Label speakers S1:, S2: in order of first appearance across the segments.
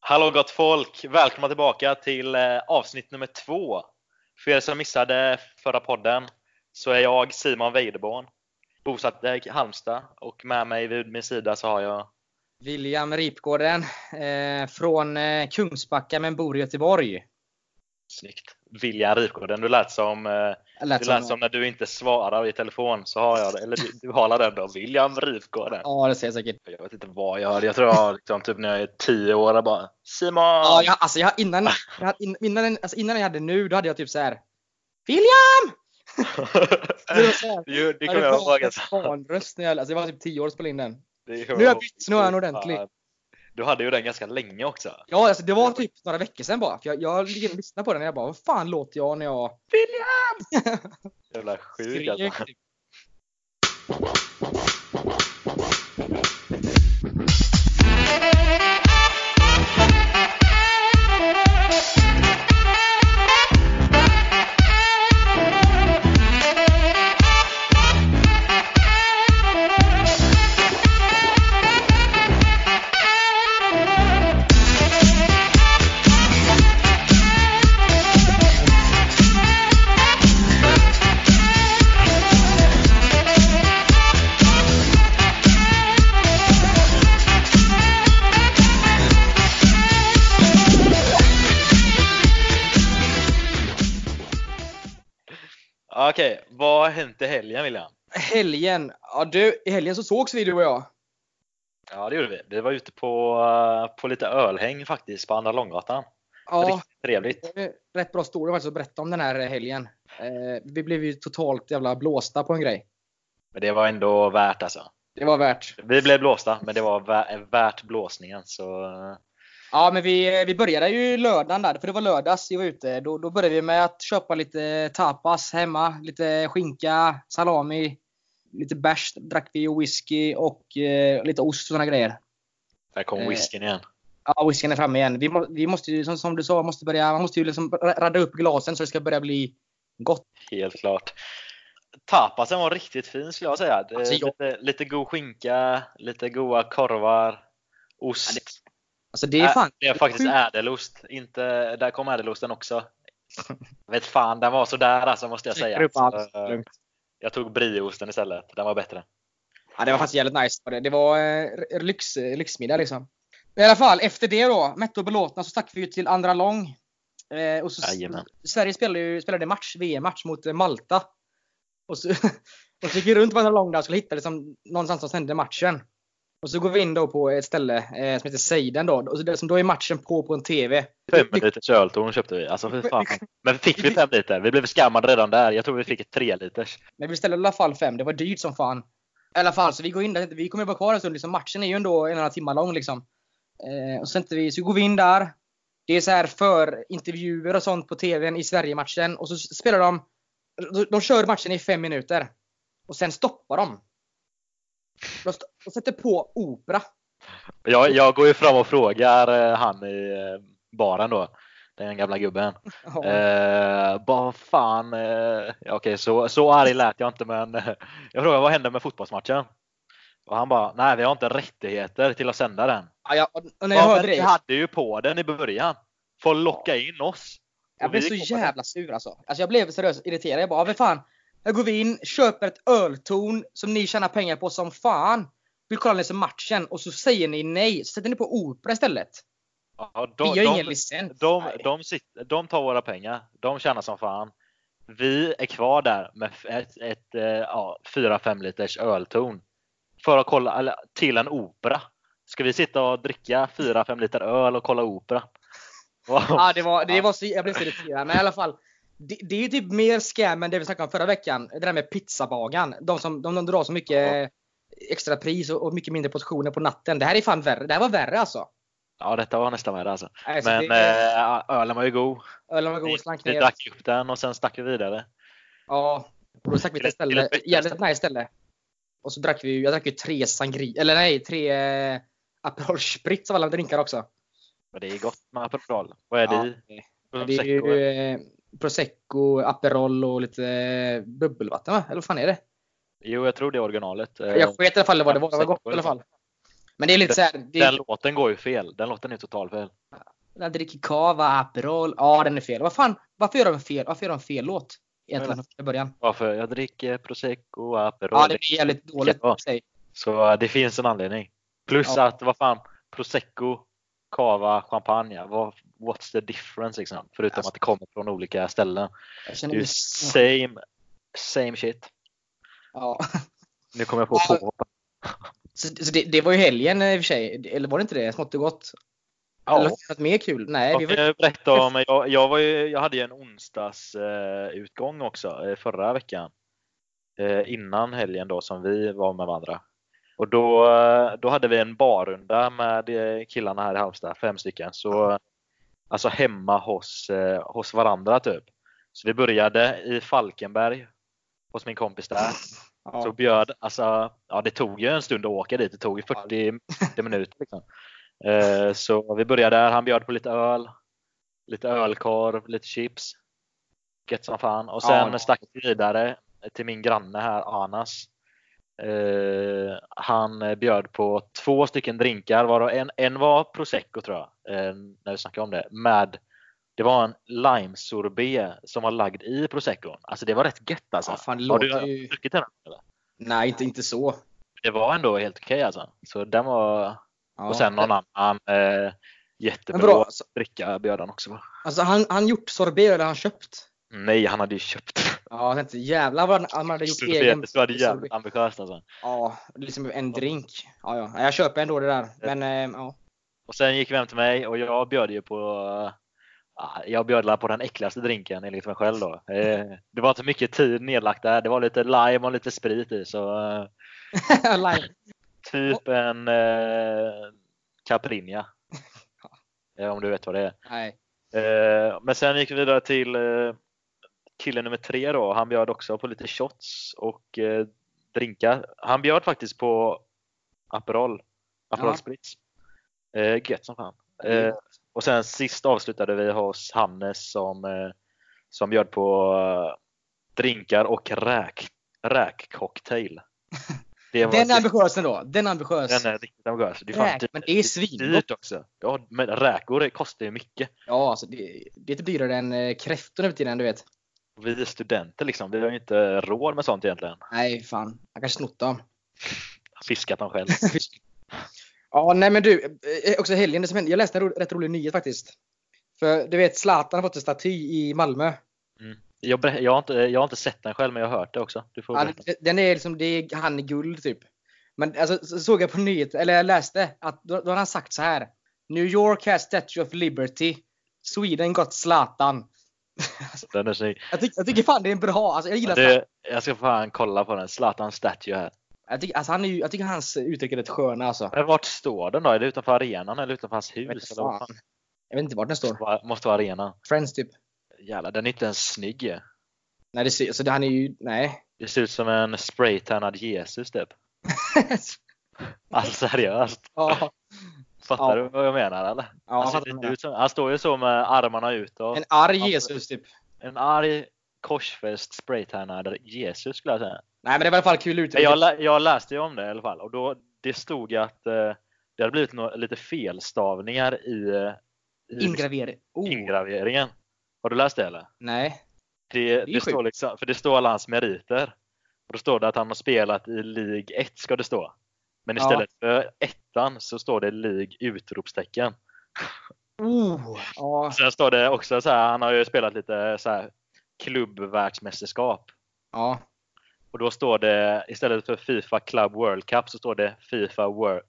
S1: Hallå gott folk! Välkomna tillbaka till eh, avsnitt nummer två. För er som missade förra podden så är jag Simon Weideborn, bosatt i Halmstad och med mig vid min sida så har jag
S2: William Ripgården eh, från eh, Kungsbacka men bor i Göteborg.
S1: snyggt William Ripgården. Du lät som, eh,
S2: Jag lät
S1: du lät som när du inte svarar i telefon så har jag eller du, du har den då, William Ripgården.
S2: Ja, det ser jag säkert.
S1: Jag vet inte vad jag hörde. Jag tror jag har liksom, typ när jag är 10 år jag bara Simon!
S2: Ja, jag, alltså jag, innan, jag, hade- in- innan, den- alltså innan jag hade nu, då hade jag typ så här. William! Det var så här.
S1: Jo, det
S2: Jag
S1: kommer
S2: hade
S1: jag ihåg.
S2: pratat
S1: alltså.
S2: barnröst när jag, alltså jag var typ 10 år och spelade in den.
S1: Det
S2: Nu har jag bytt, nu har jag en ordentlig.
S1: Fan. Du hade ju den ganska länge också.
S2: Ja, alltså det var typ några veckor sedan bara. För jag, jag ligger och lyssnar på den och jag bara, vad fan låter jag när jag
S1: Jävla sjuk
S2: skriker?
S1: alltså.
S2: typ?"
S1: Okej, vad har hänt i helgen William?
S2: Helgen, ja du, i helgen så sågs vi du och jag.
S1: Ja det gjorde vi. Vi var ute på, eh, på lite ölhäng faktiskt på Andra Långgatan.
S2: Ja,
S1: Riktigt trevligt.
S2: det är rätt bra story faktiskt att berätta om den här helgen. Eh, vi blev ju totalt jävla blåsta på en grej.
S1: Men det var ändå värt alltså.
S2: Det var värt.
S1: Vi blev blåsta men det var vä- eh, värt blåsningen. Så eh,
S2: Ja, men vi, vi började ju lördagen där, för det var lördags vi var ute. Då, då började vi med att köpa lite tapas hemma. Lite skinka, salami, lite bärs drack vi och whisky och eh, lite ost och såna grejer.
S1: där kom
S2: Eh.
S1: whiskyn igen.
S2: Ja, whiskyn är framme igen. Vi, må, vi måste ju, som, som du sa, måste börja, man måste ju liksom ra- radda upp glasen så det ska börja bli gott.
S1: Helt klart. Tapasen var riktigt fin skulle jag säga. Det-
S2: Alltså, jag-
S1: Lite, lite god skinka, lite goda korvar, ost.
S2: Ja, Alltså det är
S1: Ä-
S2: fan
S1: Det är faktiskt
S2: sjukt.
S1: ädelost. Inte, där kom ädelosten också. Jag vet fan, den var sådär alltså måste jag säga.
S2: Upp allt.
S1: Så, eh, jag tog brieosten istället. Den var bättre.
S2: Ja, det var faktiskt jävligt nice. var Det, det var eh, lyx, lyxmiddag liksom. I alla fall, efter det då, mätta och belåtna, så stack vi ju till andra lång. Eh, och så,
S1: Jajamän.
S2: Sverige spelade ju spelade match, VM-match mot eh, Malta. Och så, och så gick vi runt på andra lång där och skulle hitta liksom, någonstans som hände matchen. Och så går vi in då på ett ställe eh, som heter Seiden då. Och så, det, som då är matchen på på en TV.
S1: Fem liters öltorn köpte vi. Alltså, fy fan. Men fick vi fem liter? Vi blev skammade redan där. Jag tror vi fick ett tre liters.
S2: Men vi beställde i alla fall fem. Det var dyrt som fan. I alla fall, så vi går in där. Vi kommer vara kvar en stund. Liksom, matchen är ju ändå en och en halv timme lång. Liksom. Eh, och sen inte vi, så går vi in där. Det är så här för intervjuer och sånt på TVn i Sverige-matchen. Och så spelar de. de- De kör matchen i fem minuter. Och sen stoppar de. De st- och sätter på opera.
S1: Jag, jag går ju fram och frågar eh, han i eh, baren då. Den gamla gubben.
S2: Ja.
S1: Eh, bara fan. Eh, ja, Okej, så, så arg lät jag inte men eh, jag frågade vad hände med fotbollsmatchen? Och han bara, nej vi har inte rättigheter till att sända den.
S2: Ja, jag, och när jag
S1: Ja, men
S2: hörde
S1: vi
S2: det.
S1: hade ju på den i början. Får locka in oss.
S2: Jag
S1: Och
S2: blev
S1: vi
S2: så
S1: kommer-
S2: jävla sur alltså. alltså. Jag blev seriöst irriterad. Jag bara, vad fan. Här går vi in, köper ett öltorn som ni tjänar pengar på som fan. Vill kolla liksom matchen och så säger ni nej. Så sätter ni på opera istället.
S1: Ja,
S2: Vi
S1: de,
S2: har ingen
S1: de,
S2: licens.
S1: de,
S2: Nej.
S1: de, sitter, de tar våra pengar. De tjänar som fan. Vi är kvar där med f- ett, ett eh, ja, 4-5 liters öltorn. För att kolla, eller, till en opera. Ska vi sitta och dricka 4-5 liter öl och kolla opera? Wow.
S2: Ja, det var, det var så, jag blev så irriterad. Men i alla fall. Det, det är ju typ mer scam än det vi snackade om förra veckan. Det där med pizzabagan. De som de, de drar så mycket extra pris och, och mycket mindre portioner på natten. Det här är fan värre. Det här var värre alltså.
S1: Ja, detta var nästan värre alltså.
S2: alltså
S1: Men
S2: det,
S1: eh, ölen var ju god.
S2: ölen var
S1: Vi,
S2: god, slank
S1: vi
S2: ner.
S1: drack upp den och sen stack vi vidare.
S2: Ja, och då stack vi till ett
S1: Till ett-
S2: ställe,
S1: till ett bättre
S2: jävligt nice ställe. Och så drack vi, ju- jag drack ju tre sangri, eller nej, tre eh, Aperol Spritz av alla drinkar också.
S1: Men det är gott med Aperol. Vad är det i?
S2: Ja, det är ju eh, Prosecco, Aperol och lite eh, bubbelvatten va? Eller vad fan är det?
S1: Jo, jag tror det är originalet. Eh,
S2: Jag vet i alla fall vad det var, det var
S1: Prosecco
S2: gott i alla fall. Men det är lite såhär. det-
S1: Den låten går ju fel. Den låten är total fel.
S2: Jag dricker cava, Aperol. Ja, den är fel. Vad fan, varför gör de fel, varför gör de fel låt? Egentligen från början.
S1: Varför? Jag dricker prosecco, aperol.
S2: Ja, det blir jävligt dåligt.
S1: Ja.
S2: Säg.
S1: Så eh, det finns en anledning. Plus
S2: Ja.
S1: att vad fan, prosecco, cava, champagne. Vad, what's the difference liksom? Förutom
S2: Alltså.
S1: att det kommer från olika ställen.
S2: Jag
S1: Det
S2: känner
S1: är ju
S2: mig...
S1: same, same shit.
S2: Ja.
S1: Nu kommer jag på
S2: Ja.
S1: påhopp.
S2: Så, så det, det var ju helgen eh, i och för sig. Eller var det inte det? Smått och gott. Eller
S1: Ja. eh,
S2: var det något mer kul? Nej, vi
S1: Jag
S2: var...
S1: kan berätta om, jag, jag, var ju, jag hade ju en onsdagsutgång eh, utgång också eh, förra veckan. Eh, innan helgen då som vi var med varandra. Och då, eh, då hade vi en barrunda med eh, killarna här i Halmstad, fem stycken. Så, eh, alltså hemma hos, eh, hos varandra typ. Så vi började i Falkenberg hos min kompis där. Så
S2: ja.
S1: bjöd, alltså, ja det tog ju en stund att åka dit. Det tog ju 40 minuter. Liksom. Eh, så vi började där. Han bjöd på lite öl, lite ölkorv, lite chips. Gött som fan. Och sen
S2: Ja.
S1: stack vi vidare till min granne här, Anas. Eh, han eh, bjöd på två stycken drinkar, varav en, en var prosecco tror jag, eh, när vi snackade om det. Med, det var en lime sorbet som var lagd i prosecco. Alltså det var rätt gött alltså.
S2: Ja, fan, det
S1: Har du
S2: låter ju-
S1: druckit den? Eller?
S2: Nej, inte, inte så.
S1: det var ändå helt okej alltså. Så den var...
S2: Ja.
S1: och sen någon annan eh, jättebra
S2: Men bra, alltså.
S1: dricka bjöd han också. va?
S2: Alltså han, han gjort sorbet eller han köpt?
S1: Nej, han hade ju köpt.
S2: Ja, jag tänkte jävlar vad han, han hade gjort egen.
S1: Så det var jävligt
S2: sorbet.
S1: ambitiöst alltså.
S2: Ja, liksom en drink. Ja, ja. Nej, Jag köper ändå det där. Men eh, ja.
S1: Och sen gick vi hem till mig och jag bjöd ju på... ah, Jag bjöd la på den äckligaste drinken enligt mig själv då. Eh, Det var inte mycket tid nedlagt där. Det var lite lime och lite sprit i. Så eh,
S2: Lime.
S1: typ en eh, Caprinja. Eh, Om du vet vad det är.
S2: Nej.
S1: Eh, men sen gick vi vidare till eh, kille nummer tre då. Han bjöd också på lite shots och eh, drinkar. Han bjöd faktiskt på Aperol. Aperol
S2: Ja. Mm.
S1: Spritz. Eh, gött som fan. Eh, och sen sist avslutade vi hos Hannes som, eh, som bjöd på eh, drinkar och räk, räkcocktail. Det var
S2: Den är ambitiös ändå. Den är ambitiös.
S1: den är riktigt ambitiös. Det är fan
S2: Räk,
S1: dyrt,
S2: men det är svingott.
S1: dyrt också. Ja, men räkor kostar ju mycket.
S2: Ja, alltså det, det är typ dyrare än eh, kräftor nu för tiden, du vet.
S1: Vi är studenter liksom, vi har ju inte råd med sånt egentligen.
S2: Nej, fan. Jag kanske snott dem.
S1: Fiskat dem själv.
S2: ja, nej men du. eh, Också helgen, det som hände. Jag läste en ro, rätt rolig nyhet faktiskt. För du vet, Zlatan har fått en staty i Malmö.
S1: Mm. Jag, ber- jag, har inte, jag har inte sett den själv men jag har hört det också. Du får
S2: Han,
S1: berätta.
S2: den är liksom, det är han i guld typ. Men alltså, så såg jag på nyhet, eller jag läste, att då, då har han sagt så här. New York has Statue of Liberty. Sweden got Zlatan.
S1: Den är snygg.
S2: Jag, tyck, jag tycker fan det är en bra, alltså jag gillar Zlatan.
S1: Du, jag ska fan kolla på den. Zlatan statue här.
S2: Jag tycker, alltså, han är, ju- jag tycker hans uttryck är rätt sköna alltså.
S1: Men vart står den då? Är det utanför arenan eller utanför hans hus?
S2: Jag vet,
S1: eller vad fan?
S2: fan. jag vet inte vart den
S1: Måste,
S2: står.
S1: vara, måste vara arenan.
S2: Friends typ.
S1: Jävlar, den är inte ens snygg ju.
S2: Nej, det, ser- alltså, det, han är ju, nej.
S1: Det ser ut som en spraytannad Jesus typ. Alltså seriöst.
S2: ja,
S1: Fattar
S2: Ja.
S1: du vad jag menar eller?
S2: ja,
S1: han,
S2: fattar
S1: ser
S2: vad
S1: inte
S2: du menar.
S1: ut som, han står Alltså, ju så med armarna utåt.
S2: en arg
S1: Ja,
S2: Jesus typ.
S1: En arg korsfäst spraytannad Jesus skulle jag säga.
S2: Nej men det var i alla fall kul
S1: Men
S2: uttryck.
S1: Jag, lä- jag läste ju om det i alla fall och då, det stod ju att eh, det hade blivit nå- lite felstavningar i, eh, i
S2: Ingraverad. Oh,
S1: ingraveringen. Har du läst det eller?
S2: nej.
S1: Det, det,
S2: sjukt.
S1: står liksom, för det står alla hans meriter. Och då står det att han har spelat i League 1 ska det stå. Men
S2: Ja.
S1: istället för ettan så står det League utropstecken.
S2: Oh, ja.
S1: Sen står det också så här, han har ju spelat lite så här klubbvärldsmästerskap.
S2: ja.
S1: Och då står det istället för Fifa Club World Cup så står det Fifa, Wor-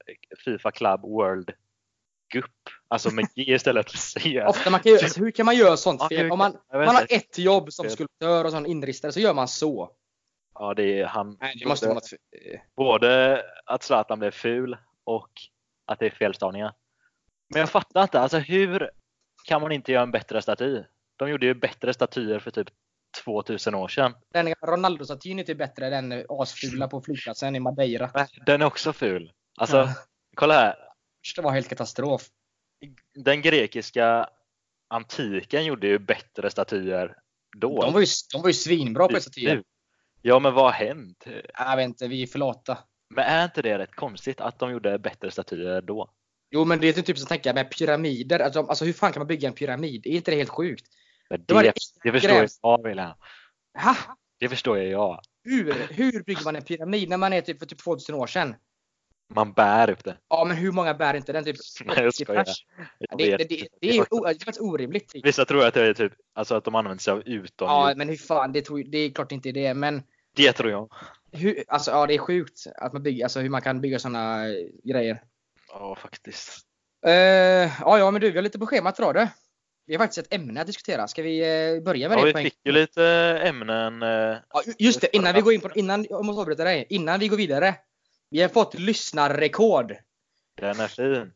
S1: FIFA Club World Cup. Alltså med G istället för C.
S2: Ofta man kan ju, alltså, hur kan man göra sånt
S1: Ja, hur
S2: fel?
S1: kan-
S2: Om man,
S1: jag vet
S2: man har
S1: inte.
S2: ett jobb som
S1: Fel.
S2: skulptör och sån inristare så gör man så.
S1: Ja, det är han.
S2: Nej, det måste vara något fel.
S1: Både att Zlatan blev ful och att det är felstavningar. Men jag fattar inte. Alltså hur kan man inte göra en bättre staty? De gjorde ju bättre statyer för typ 2000 år sedan.
S2: Den gamla Ronaldo-statyn är typ bättre än den asfula på flygplatsen i Madeira.
S1: Men Den är också ful. Alltså,
S2: Ja.
S1: kolla här.
S2: Det var helt katastrof.
S1: Den grekiska antiken gjorde ju bättre statyer då.
S2: De var ju, de var ju svinbra på statyer.
S1: Ja, men vad har hänt?
S2: Jag vet inte, vi är för lata.
S1: Men är inte det rätt konstigt att de gjorde bättre statyer då?
S2: Jo men det är typ som tänker med pyramider. Alltså, de- alltså hur fan kan man bygga en pyramid? Är inte det helt sjukt?
S1: Men
S2: Det var
S1: det,
S2: det
S1: det förstår jag
S2: grävs-
S1: jag Wilhelm.
S2: Ha?
S1: Det förstår jag jag.
S2: Hur, hur bygger man en pyramid när man är typ för typ 2000 år sedan?
S1: Man bär upp det.
S2: Ja men hur många bär inte den? Typ
S1: Nej, jag
S2: 80
S1: skojar.
S2: pers?
S1: Jag
S2: Det, det,
S1: vet
S2: det,
S1: inte.
S2: det är ju o- det är faktiskt orimligt. Typ.
S1: Vissa tror att det är typ, alltså att de använder sig av
S2: Ja
S1: utomjord.
S2: men hur fan, det, tror, ju- det är klart inte det. Men
S1: Det tror jag.
S2: hur, alltså, ja, det är sjukt att man bygger, alltså, hur man kan bygga sådana grejer.
S1: Ja, faktiskt.
S2: Eh, ja, ja, men du, vi har lite på schemat idag du. Vi har faktiskt ett ämne att diskutera. Ska vi eh, börja med
S1: Ja,
S2: det?
S1: vi
S2: på en-
S1: fick ju lite ämnen. eh,
S2: Ja, ju- just det, innan vi går in på innan, jag måste avbryta dig. Innan vi går vidare. Vi har fått lyssnarrekord.
S1: Den är fin.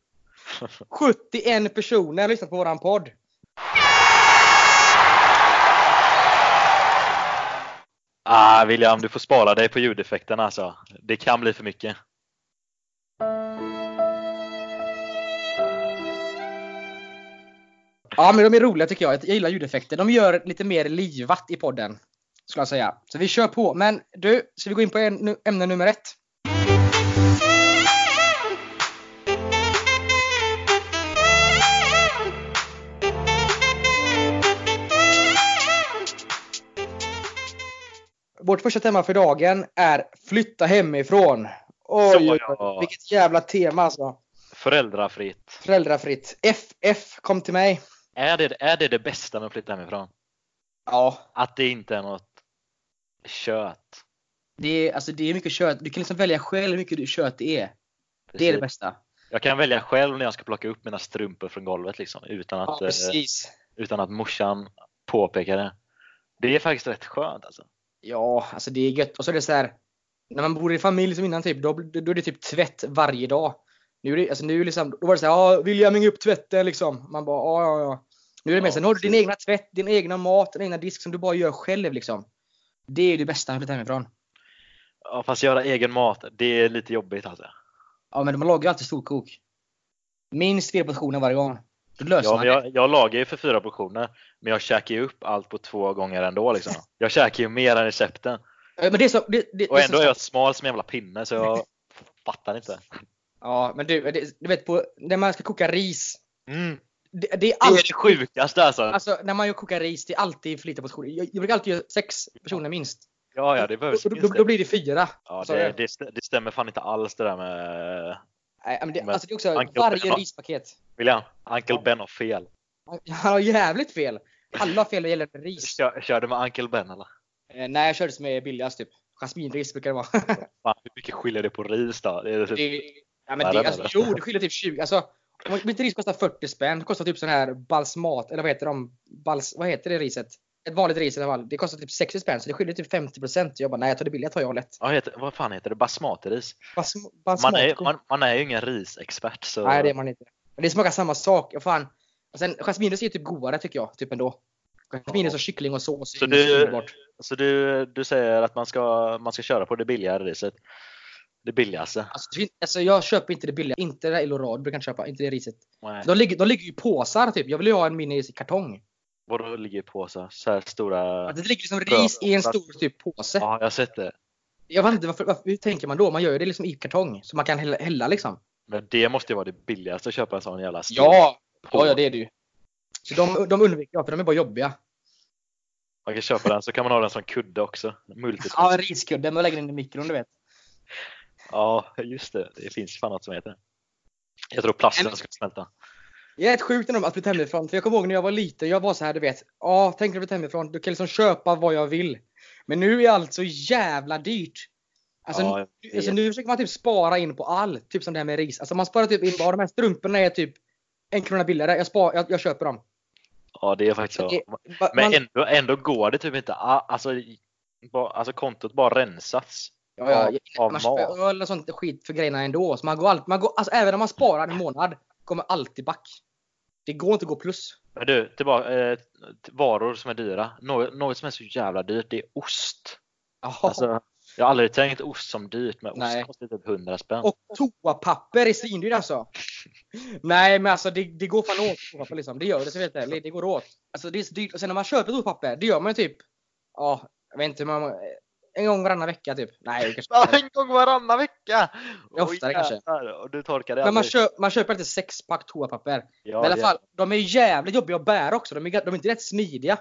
S2: 71 personer har lyssnat på våran podd.
S1: Ah, William, du får spara dig på ljudeffekterna alltså. Det kan bli för mycket.
S2: Ja, men de är roliga tycker jag. Jag gillar ljudeffekter. De gör lite mer livat i podden. Skulle jag säga. Så vi kör på. Men du, ska vi gå in på en, nu- ämne nummer ett? Vårt första tema för dagen är flytta hemifrån.
S1: Så,
S2: Oj, oj,
S1: ja.
S2: oj. vilket jävla tema alltså.
S1: Föräldrafritt.
S2: Föräldrafritt. FF kom till mig.
S1: Är det, är det det bästa med att flytta hemifrån?
S2: Ja,
S1: Att det inte är något kött.
S2: det är, alltså, det är mycket kött. Du kan liksom välja själv hur mycket kött det är. Det är det
S1: Precis.
S2: bästa.
S1: Jag kan välja själv när jag ska plocka upp mina strumpor från golvet liksom, utan,
S2: Ja,
S1: att, eh,
S2: precis.
S1: utan att morsan påpekar det. Det är faktiskt rätt skönt alltså.
S2: Ja, alltså det är gött. Och så är det så här. När man bor i familj som innan typ, då, då är det typ tvätt varje dag. Nu är det, alltså nu är det liksom, då var det så här, ja, William häng upp tvätten liksom. Man bara, ja, ja, ja. Nu är det mer
S1: Ja,
S2: så här, nu har du din
S1: precis.
S2: egna tvätt, din egna mat, din egna disk som du bara gör själv liksom. Det är ju det bästa med att flytta hemifrån.
S1: Ja, fast göra egen mat, det är lite jobbigt alltså.
S2: Ja, men man lagar ju alltid storkok. Minst tre portioner varje gång. Då löser
S1: Ja,
S2: man
S1: men
S2: det.
S1: jag, jag lagar ju för fyra portioner, men jag käkar ju upp allt på två gånger ändå. Liksom. Jag käkar ju mer än recepten.
S2: Eh, Men det är så, det, det,
S1: Och
S2: det är så-
S1: ändå är jag smal som en jävla pinne, så jag fattar inte.
S2: Ja, men du, det, du vet på, när man ska koka ris.
S1: Mm.
S2: Det, det är
S1: Det är
S2: alltid,
S1: det sjukaste alltså.
S2: alltså när man kokar ris, det är alltid för lite portioner. Jag, jag brukar alltid göra sex personer minst.
S1: Ja, ja, det behövs
S2: då, då,
S1: minst
S2: då
S1: det.
S2: blir det fyra. eh,
S1: Ja,
S2: sa
S1: det,
S2: jag.
S1: det, st- det stämmer fan inte alls det där med eh,
S2: Nej, men det,
S1: men-
S2: alltså det är också
S1: Anke
S2: varje
S1: Ottosson.
S2: rispaket.
S1: William. Uncle Ben har fel.
S2: Han- Han har jävligt fel. Alla har fel vad gäller ris.
S1: Kör, kör du med Uncle Ben eller?
S2: Eh, Nej, jag körde som är billigast typ. Jasminris brukar det vara.
S1: Fan, hur mycket skiljer det på ris då? Det är typ,
S2: det, ja,
S1: Ja,
S2: men
S1: den är
S2: det, alltså,
S1: det.
S2: jo, det skiljer typ 20. Alltså, om inte ris kostar 40 spänn, det kostar typ sån här balsmat, eller vad heter de? Bals, vad heter det riset? Ett vanligt ris i alla fall. Det kostar typ 60 spänn, så det skiljer typ 50%. Jag bara, nej jag tar det billiga tar jag lätt.
S1: vad, heter, vad fan heter det? Basmatiris?
S2: Bals,
S1: Man
S2: balsmat.
S1: är, man, man är ju ingen risexpert så...
S2: Nej, det är man inte. Men det smakar samma sak. Och fan. Och sen jasminris är ju typ godare tycker jag, typ ändå. Jasminris och kyckling och sås. är
S1: Så
S2: ju
S1: du-
S2: underbart.
S1: Så du, du säger att man ska, man ska köra på det billigare riset? Det billigaste?
S2: Alltså, det finns- alltså jag köper inte det billiga, inte det där Elorad brukar jag köpa, inte det riset.
S1: Nej.
S2: De ligger, de ligger ju i påsar typ. Jag vill ju ha en minikartong.
S1: Vadå ligger i påsar? Så här stora?
S2: Att Det ligger liksom ris i en stor typ påse.
S1: Ja, jag har sett det.
S2: Jag vet inte varför, varför, hur tänker man då? Man gör ju det liksom i kartong så man kan hälla, hälla liksom.
S1: Men det måste ju vara det billigaste att köpa en sån jävla stor
S2: ja, ja det är det ju. Så de, de undviker jag för de är bara jobbiga.
S1: Man kan köpa den så kan man ha den som kudde också. Multi.
S2: Ja, en riskudde man lägger den i mikron du vet.
S1: Ja, just det. Det finns fan något som heter det. Jag tror plasten ska smälta.
S2: Jag är rätt sjukt ändå att flytta hemifrån. För jag kommer ihåg när jag var liten, jag var så här du vet. Ja, tänk dig att flytta hemifrån. Du kan liksom köpa vad jag vill. Men nu är allt så jävla dyrt. Alltså,
S1: Ja, jag
S2: nu,
S1: vet.
S2: alltså nu försöker man typ spara in på allt. Typ som det här med ris. Alltså man sparar typ in bara de här strumporna är typ en krona billigare. Jag, spar, jag, jag köper dem.
S1: Ja, det är faktiskt så.
S2: Det- va-
S1: Men
S2: man-
S1: ändå, ändå går det typ inte. Ah, Alltså, ba- alltså kontot bara rensats.
S2: ja, ja,
S1: av- av
S2: man köper
S1: mat.
S2: öl och sånt skit för grejerna ändå. Så man går allt, man går, alltså även om man sparar en månad kommer alltid back. Det går inte att gå plus.
S1: Men du, tillbaka, eh, t- varor som är dyra. Något, något som är så jävla dyrt, det är ost.
S2: Ja.
S1: Alltså, jag har aldrig tänkt ost som dyrt, men
S2: Nej.
S1: ost kostar typ 100 spänn.
S2: Och toapapper är svindyrt alltså. Nej men alltså det, det går fan åt toapapper liksom. Det gör det så helt ärligt. Det går åt. Alltså det är så dyrt. Och sen när man köper toapapper, det gör man ju typ, ja, jag vet inte hur många, en gång varannan vecka typ. Nej, kanske inte.
S1: en gång varannan vecka! vecka!
S2: Ja, oftare
S1: Oj,
S2: kanske.
S1: jävlar, Och du torkar det
S2: Men man,
S1: aldrig.
S2: köp, man köper lite sexpack toapapper.
S1: Ja,
S2: Men alltså, i alla
S1: det-
S2: fall, de är ju jävligt jobbiga att bära också. De är, ga- de är inte rätt smidiga.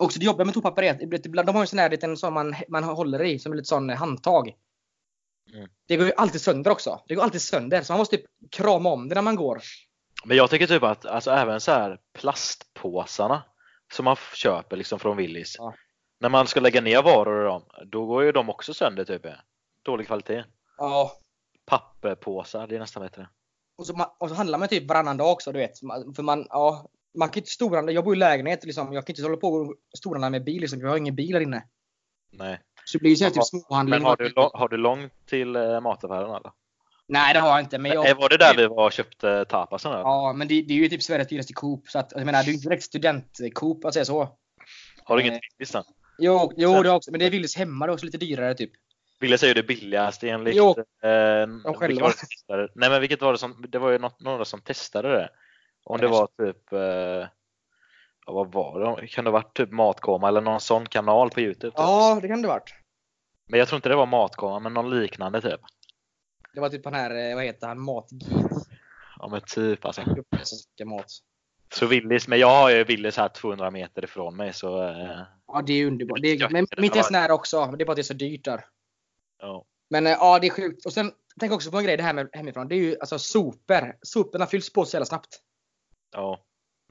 S2: Och så det jobbiga med toapapper är att ibland- ibland- de har ju en sån här liten som man, man håller i, som är lite sån eh, handtag.
S1: Mm.
S2: Det går ju alltid sönder också. Det går alltid sönder. Så man måste typ krama om det när man går.
S1: Men jag tycker typ att alltså, även så här plastpåsarna som man f- köper liksom från Willys.
S2: Ja.
S1: När man ska lägga ner varor i dem, då går ju de också sönder typ. Dålig kvalitet.
S2: Ja.
S1: Papperpåsar, det är nästan bättre.
S2: Och så, ma- och så handlar man typ varannan dag också, du vet. Man- För man, ja. Man kan inte storhandla. Jag bor i lägenhet liksom. Jag kan inte hålla på och storhandla med bil liksom. Jag har ingen bil här inne.
S1: Nej.
S2: Så det blir ju så här
S1: Ja,
S2: typ småhandling.
S1: Men har du, lång, har du långt till eh, mataffären eller?
S2: Nej det har jag inte. Men jag...
S1: Eh, Var det där vi var och köpte tapasen? eller?
S2: Ja, men det, det är ju typ Sveriges dyraste Coop. Så att, jag menar, det är ju inte direkt student-Coop att säga så.
S1: Har du
S2: eh,
S1: inget Willys sen?
S2: Jo, jo det har också, men det är Willys hemma, det är också lite dyrare typ.
S1: Willys är ju det billigaste enligt...
S2: Jo,
S1: eh, vilka
S2: själva.
S1: var det som testade- Nej men vilket var det som... Det var ju något, några som testade det. Om det var typ... Eh, ja, vad var det? Kan det ha varit typ Matkoma eller någon sån kanal på Youtube? Typ.
S2: Ja, det kan det ha varit.
S1: Men jag tror inte det var Matkoma, men någon liknande typ.
S2: Det var typ den här, eh, vad heter han, matgit.
S1: Ja men typ alltså.
S2: mat.
S1: Så Willys, men jag har ju Willys här 200 meter ifrån mig så... Eh,
S2: Ja, det är underbart. Det är, men mitt är sån här också, det är bara att det är så dyrt där.
S1: ja.
S2: Men eh, ja, det är sjukt. Och sen, tänk också på en grej det här med hemifrån. Det är ju alltså sopor. Soporna fylls på så jävla snabbt.
S1: ja.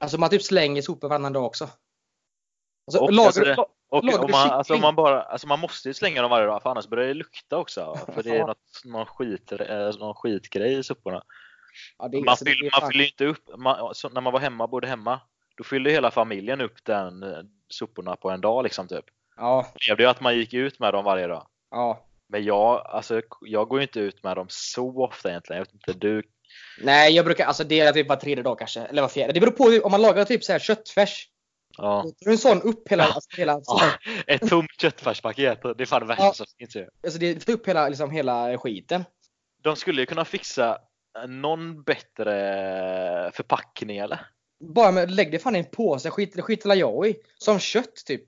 S2: Alltså man typ slänger sopor varannan dag också. Alltså,
S1: Och,
S2: lagar,
S1: alltså, det-
S2: lagar
S1: Och, och
S2: du
S1: man, alltså,
S2: kyckling?
S1: man, bara, alltså, man måste ju slänga dem varje dag för annars börjar det lukta också. För det är
S2: Ja.
S1: något, någon, skit, eh, någon skitgrej i soporna.
S2: ja, det är-
S1: man,
S2: alltså, det är
S1: fyller,
S2: fan-
S1: man fyller ju inte upp, man, så när man var hemma, bodde hemma, då fyllde hela familjen upp den eh, soporna på en dag liksom typ.
S2: Ja,
S1: Det blev ju att man gick ut med dem varje dag.
S2: ja.
S1: Men jag, alltså, jag går ju inte ut med dem så ofta egentligen. Jag vet inte, du,
S2: Nej, jag brukar, alltså det är typ var tredje dag kanske, eller var fjärde. Det beror på om man lagar typ så här köttfärs.
S1: ja.
S2: Då är en sån upp hela, alltså, hela,
S1: Ja, Ett tomt köttfärspaket, det är fan det värsta
S2: Ja.
S1: som finns ju.
S2: alltså det tar upp hela, liksom, hela skiten.
S1: De skulle ju kunna fixa eh, någon bättre förpackning eller?
S2: Bara med, lägg det fan i en påse, skit, det skiter jag i. Som kött typ.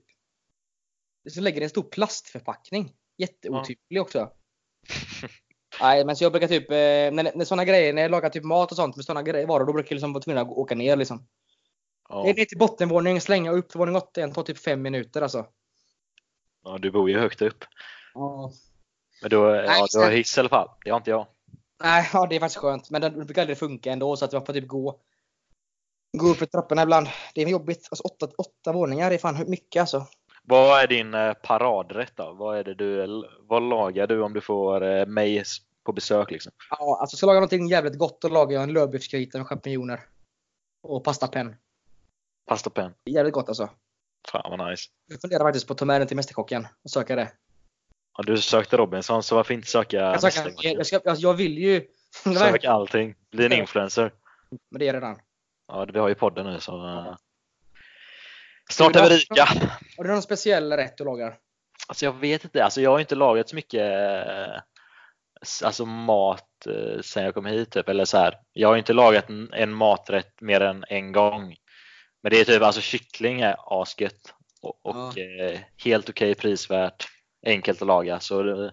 S2: Så lägger det i en stor plastförpackning. Jätteotyplig också. Nej, men så jag brukar typ, eh, när, när såna grejer, när jag lagar typ mat och sånt med såna grejer, varor, då brukar jag liksom vara tvungen att gå- åka ner liksom.
S1: Ja.
S2: Ner till bottenvåningen, slänga upp till våning 81, tar typ fem minuter alltså.
S1: Ja, du bor ju högt upp.
S2: Ja.
S1: Men då, ja,
S2: just
S1: du har
S2: det.
S1: hiss i alla fall. Det har inte jag.
S2: Nej, ja, det är faktiskt skönt. Men den brukar aldrig funka ändå så att man får typ gå, gå upp för trapporna ibland. Det är jobbigt. Alltså, åtta, åtta våningar det är fan mycket alltså.
S1: Vad är din eh, paradrätt då? Vad, är det du, vad lagar du om du får eh, mig s- på besök? Liksom?
S2: Ja, alltså ska jag laga någonting jävligt gott då lagar jag en lövbiffsgryta med champinjoner. Och pastapenn.
S1: Pasta pen.
S2: Det är Jävligt gott alltså.
S1: Fan vad nice.
S2: Jag funderar faktiskt på att ta med den till Mästerkocken och söka det.
S1: Ja, du sökte Robinson, så varför inte söka
S2: Jag,
S1: nästa
S2: söker,
S1: gång?
S2: jag, jag, ska, jag, jag vill ju...
S1: Sök allting. Bli en
S2: Ja.
S1: influencer.
S2: Men det är redan.
S1: Ja, det- vi har ju podden nu så... eh.
S2: Ska
S1: Snart
S2: vi
S1: är vi
S2: dra-
S1: rika!
S2: Har du någon speciell rätt du lagar?
S1: Alltså jag vet inte. Alltså jag har inte lagat så mycket eh, s- alltså mat eh, sen jag kom hit. Typ. Eller så här. Jag har inte lagat en, en maträtt mer än en gång. Men det är typ alltså kyckling är asket och, och eh, helt okej prisvärt. Enkelt att laga. Så det,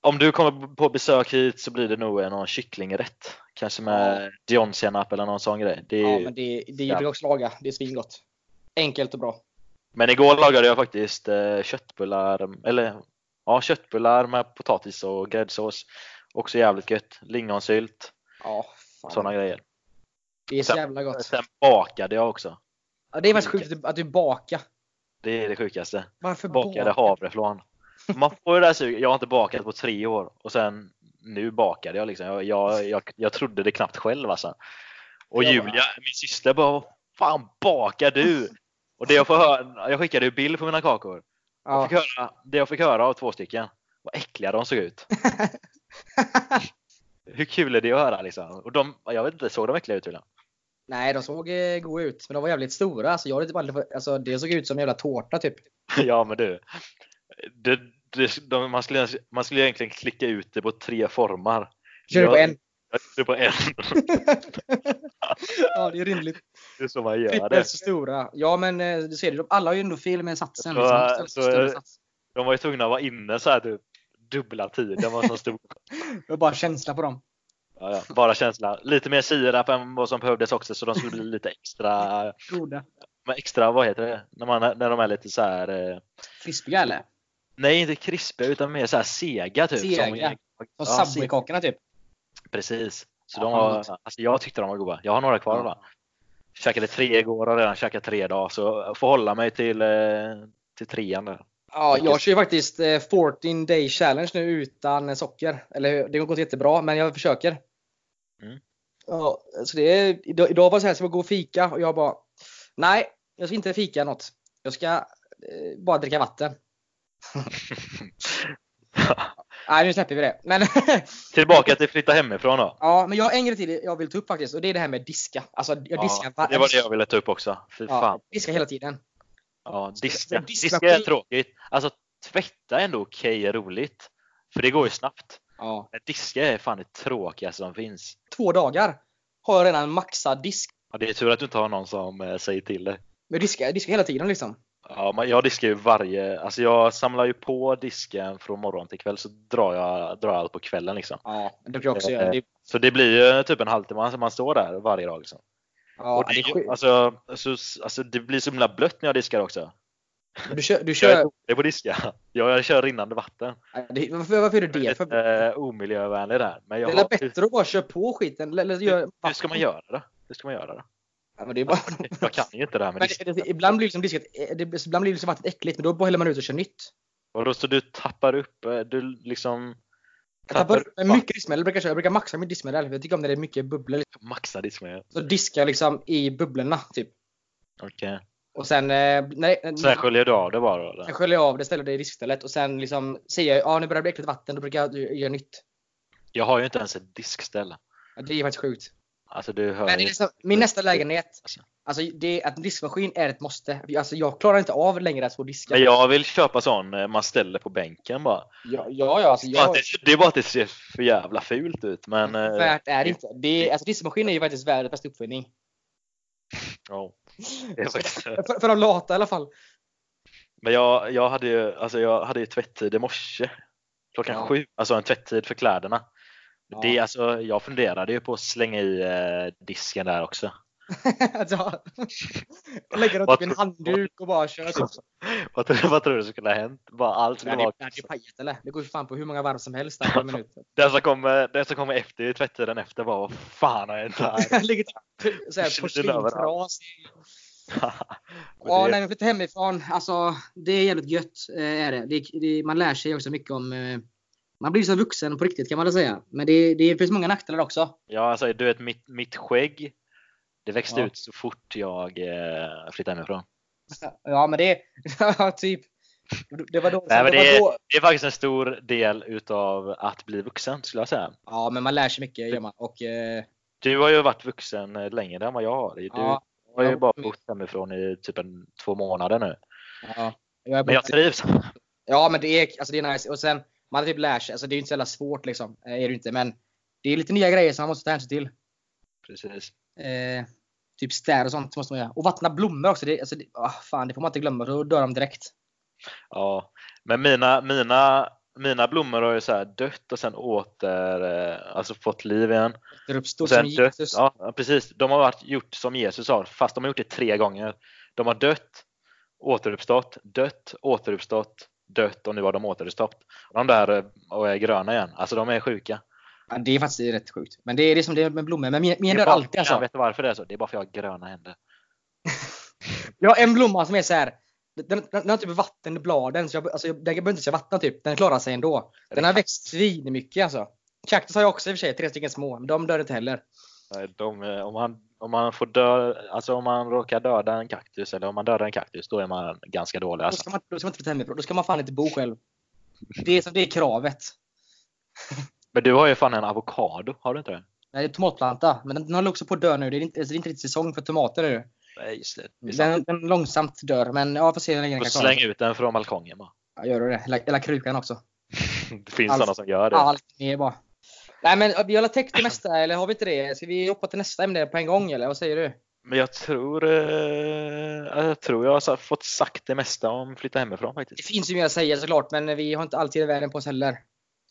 S1: om du kommer på besök hit så blir det nog eh, någon kycklingrätt. Kanske med dijonsenap eller någon sån grej. Det är,
S2: Ja,
S1: ju-
S2: men det, det brukar jag också laga. Det är svingott. Enkelt och bra.
S1: Men igår lagade jag faktiskt eh, köttbullar, eller ja, köttbullar med potatis och gräddsås. Också jävligt gött. Lingonsylt,
S2: Ja, fan.
S1: sådana grejer.
S2: Det är så
S1: Sen-
S2: jävla gott.
S1: Sen bakade jag också.
S2: Ja, det är faktiskt sjukt att du bakar.
S1: Det är det sjukaste.
S2: Varför
S1: Bakade
S2: bakar?
S1: havreflarn. Man får ju det här suget. Jag har inte bakat på tre år och sen nu bakade jag liksom. Jag, jag, jag, jag trodde det knappt själv alltså. Och
S2: Jag bara-
S1: Julia, min syster bara, vad fan bakar du? Och det jag får höra, jag skickade ju bild på mina kakor. Jag
S2: Ja.
S1: fick höra, det jag fick höra av två stycken, vad äckliga de såg ut. Hur kul är det att höra liksom? Och de, jag vet inte, såg de äckliga ut Julian?
S2: Nej, de såg eh, goda ut, men de var jävligt stora. Alltså, jag hade typ aldrig, fått- alltså, det såg ut som en jävla tårta typ.
S1: ja men du. Det, det, de, man, skulle, man skulle egentligen klicka ut det på tre formar.
S2: Kör du på
S1: Jag-
S2: en?
S1: Jag gjorde på en.
S2: ja, det är rimligt.
S1: Det är så man gör det.
S2: Trippelt så stora. Ja, men eh, du ser, det, de alla har ju ändå fel med satsen.
S1: Så,
S2: Liksom.
S1: eh,
S2: Större-
S1: så,
S2: större
S1: eh,
S2: sats.
S1: De var ju tvungna att vara inne så här typ. dubbla tiden vad som stod.
S2: Det var bara känsla på dem.
S1: Ja, ja. Bara känsla. Lite mer sirap än vad som behövdes också så de skulle bli lite extra,
S2: Goda.
S1: men extra vad heter det, när, man, när de är lite så här. eh,
S2: Krispiga eller?
S1: Nej, inte krispiga utan mer så här sega typ.
S2: Sega.
S1: Som,
S2: Som
S1: ja, se-
S2: Subway-kakorna typ.
S1: Precis. Så
S2: Ja,
S1: de
S2: fan
S1: var,
S2: vad gott.
S1: alltså jag tyckte de var goda. Jag har några kvar. Va? Käkade tre igår och har redan käkat tre idag. Så jag får hålla mig till, eh, till trean där.
S2: Ja, jag kör ju faktiskt eh, 14 day challenge nu utan eh, socker. Eller det går inte jättebra, men jag försöker.
S1: Mm.
S2: Ja, så det är, idag, idag var det så här, ska vi gå och fika? Och jag bara, nej, jag ska inte fika något. Jag ska eh, bara dricka vatten. Nej, nu släpper vi det. Men,
S1: Tillbaka till flytta hemifrån då.
S2: ja, men jag har en grej till jag vill ta upp faktiskt, och det är det här med diska. Alltså, jag diskar
S1: ja, det var det jag ville ta upp också. Fy
S2: ja,
S1: fan.
S2: diskar hela tiden.
S1: Ja,
S2: Så
S1: diska.
S2: en diskmaskin-
S1: diska är tråkigt. Alltså tvätta är ändå okej roligt. För det går ju snabbt.
S2: Ja.
S1: Men diska är fan det tråkigaste som finns.
S2: Två dagar har jag redan maxad disk.
S1: Ja, det är tur att du inte har någon som eh, säger till dig.
S2: Jag diskar, diskar hela tiden liksom.
S1: Ja, men jag diskar ju varje, alltså jag samlar ju på disken från morgon till kväll så drar jag, drar jag allt på kvällen liksom.
S2: Ja, det kan jag också
S1: Eh,
S2: göra. Det,
S1: Så det blir ju typ en halvtimme som man står där varje dag liksom.
S2: ja,
S1: Och
S2: det är
S1: det,
S2: sjukt.
S1: alltså, alltså, alltså det blir så himla blött när jag diskar också.
S2: Du kör, du
S1: Jag är
S2: kör
S1: dålig på att diska. Jag, jag kör rinnande vatten.
S2: Nej, det, varför, varför är du det? För,
S1: Lite
S2: det
S1: eh, omiljövänlig där. Men jag,
S2: är väl bättre att bara köra på skiten? Eller, eller,
S1: hur,
S2: gör,
S1: hur ska man göra det? Hur ska man göra det?
S2: Ja, men det är bara,
S1: Jag kan ju inte det här med
S2: men,
S1: disk.
S2: det- det- ibland blir liksom disket, det, ibland blir liksom vattnet äckligt, men då bara häller man ut och kör nytt.
S1: Och då så du tappar upp, eh, du liksom
S2: Jag tappar upp
S1: vatten.
S2: mycket diskmedel, brukar jag köra. Jag brukar maxa mitt diskmedel, för jag tycker om när det är mycket bubblor. liksom.
S1: Maxa diskmedel.
S2: Så diskar jag liksom i bubblorna, typ.
S1: Okej.
S2: Och sen, eh, nej,
S1: Sen sköljer du av det bara? Eller?
S2: sen sköljer jag av det, ställer det i diskstället och sen liksom säger jag, ja nu börjar det bli äckligt vatten, då brukar jag gö- göra nytt.
S1: Jag har ju inte ens ett diskställ.
S2: Ja, Det är faktiskt sjukt.
S1: Alltså du hör
S2: Men det är
S1: ju.
S2: liksom, min nästa lägenhet,
S1: Alltså.
S2: alltså det, att diskmaskin är ett måste. Alltså jag klarar inte av längre att stå och diska.
S1: Men jag vill köpa sån eh, man ställer på bänken bara.
S2: Ja, ja, ja Mm. alltså
S1: Bara att
S2: jag,
S1: Det, det är bara att det ser för jävla fult ut. Men eh,
S2: värt är det inte. Det, alltså, diskmaskin är ju faktiskt världens bästa uppfinning.
S1: ja, det är faktiskt,
S2: För, för de lata i alla fall.
S1: men jag, jag, hade ju, alltså jag hade ju tvättid i morse. Klockan
S2: Ja.
S1: sju. Alltså en tvättid för kläderna.
S2: Ja.
S1: Det, alltså, jag funderade ju på att slänga i eh, disken där också.
S2: alltså, lägga dem
S1: Vad
S2: typ i
S1: tror-
S2: en handduk och bara köra typ.
S1: vad, tror, vad tror du skulle ha hänt? Bara allt
S2: Det
S1: skulle
S2: hade
S1: vara
S2: det hade ju pajat eller? Det går ju fan på hur många varv som helst där på en minut.
S1: Den som kommer, den som kommer efter i tvättiden efter bara vad fan har hänt här?
S2: Ligger typ såhär
S1: Försvinner överallt.
S2: porslinsras.
S1: Men
S2: Ja,
S1: det-
S2: när man flyttar hemifrån, alltså det är jävligt gött. eh, Är det. Det, det, man lär sig också mycket om eh, man blir så vuxen på riktigt kan man väl säga. Men det, det finns många nackdelar också.
S1: Ja, alltså du vet mitt, mitt skägg. Det växte
S2: Ja.
S1: ut så fort jag eh, flyttade hemifrån.
S2: Ja, men det... ja, typ. Det var då...
S1: Nej, men
S2: det
S1: det,
S2: var då
S1: det är faktiskt en stor del utav att bli vuxen skulle jag säga.
S2: ja, men man lär sig mycket. Gör man. Och, eh,
S1: Du har ju varit vuxen eh, längre än vad jag har. Du
S2: ja,
S1: har ju
S2: jag-
S1: bara bott hemifrån i typ en, två månader nu.
S2: ja, jag är
S1: Men jag
S2: borta.
S1: trivs.
S2: ja, men det är, alltså, det är nice. Och sen, man typ lär sig. Alltså, det är ju inte så jävla svårt liksom. eh, Är det ju inte. Men det är lite nya grejer som man måste ta hänsyn till.
S1: Precis.
S2: Eh, typ städ och sånt måste man göra. Och vattna blommor också. Det, alltså, det, ah, fan, det får man inte glömma. Då dör de direkt.
S1: Ja. Men mina, mina, mina blommor har ju så här dött och sen åter, eh, alltså fått liv igen.
S2: Det uppstår
S1: Och sen
S2: som
S1: dött.
S2: Jesus.
S1: Ja, precis. De har varit, gjort som Jesus sa, fast de har gjort det tre gånger. De har dött, återuppstått, dött, återuppstått, dött och nu har de återuppstått. De där eh, och är gröna igen. Alltså de är sjuka.
S2: Ja, det är faktiskt rätt sjukt. Men det är liksom det som det är med blommor. Men mina, mina
S1: Det
S2: dör
S1: är bara-
S2: alltid alltså.
S1: Jag vet varför det är så. Det är bara för att jag har gröna händer.
S2: Jag har en blomma som är så här. Den, den, den har typ vatten i bladen, så jag, alltså, jag, den behöver inte ens vattna typ. Den klarar sig ändå. Den har växt svinmycket alltså. Cactus har jag också i och för sig, tre stycken små. Men de dör inte heller.
S1: Nej, De, eh, om, man, om man får dö, alltså om man råkar döda en kaktus eller om man dödar en kaktus, då är man ganska dålig.
S2: Då
S1: Alltså.
S2: ska man, då ska man inte flytta hemifrån. Då ska man fan inte bo själv. Det är, som- det är kravet.
S1: Men du har ju fan en avokado, har du inte det?
S2: Nej, det är tomatplanta. Men den, den håller också på att dö nu. Det är inte, alltså, det är inte riktigt säsong för tomater nu.
S1: Nej, just det. det är sant.
S2: Den, den långsamt dör. Men ja, får se hur länge den
S1: Får
S2: kan klara
S1: släng
S2: sig.
S1: ut den från balkongen bara.
S2: Ja, gör du det. Hela, hela krukan också.
S1: Det finns
S2: Allt.
S1: sådana som gör det.
S2: Allt ner bara. Nej men vi har täckt det mesta, eller har vi inte det? Ska vi hoppa till nästa ämne på en gång eller vad säger du?
S1: Men jag tror, eh, jag tror jag har sa- fått sagt det mesta om flytta hemifrån
S2: Det
S1: faktiskt.
S2: finns ju mer att säga såklart, men vi har inte alltid världen på oss heller.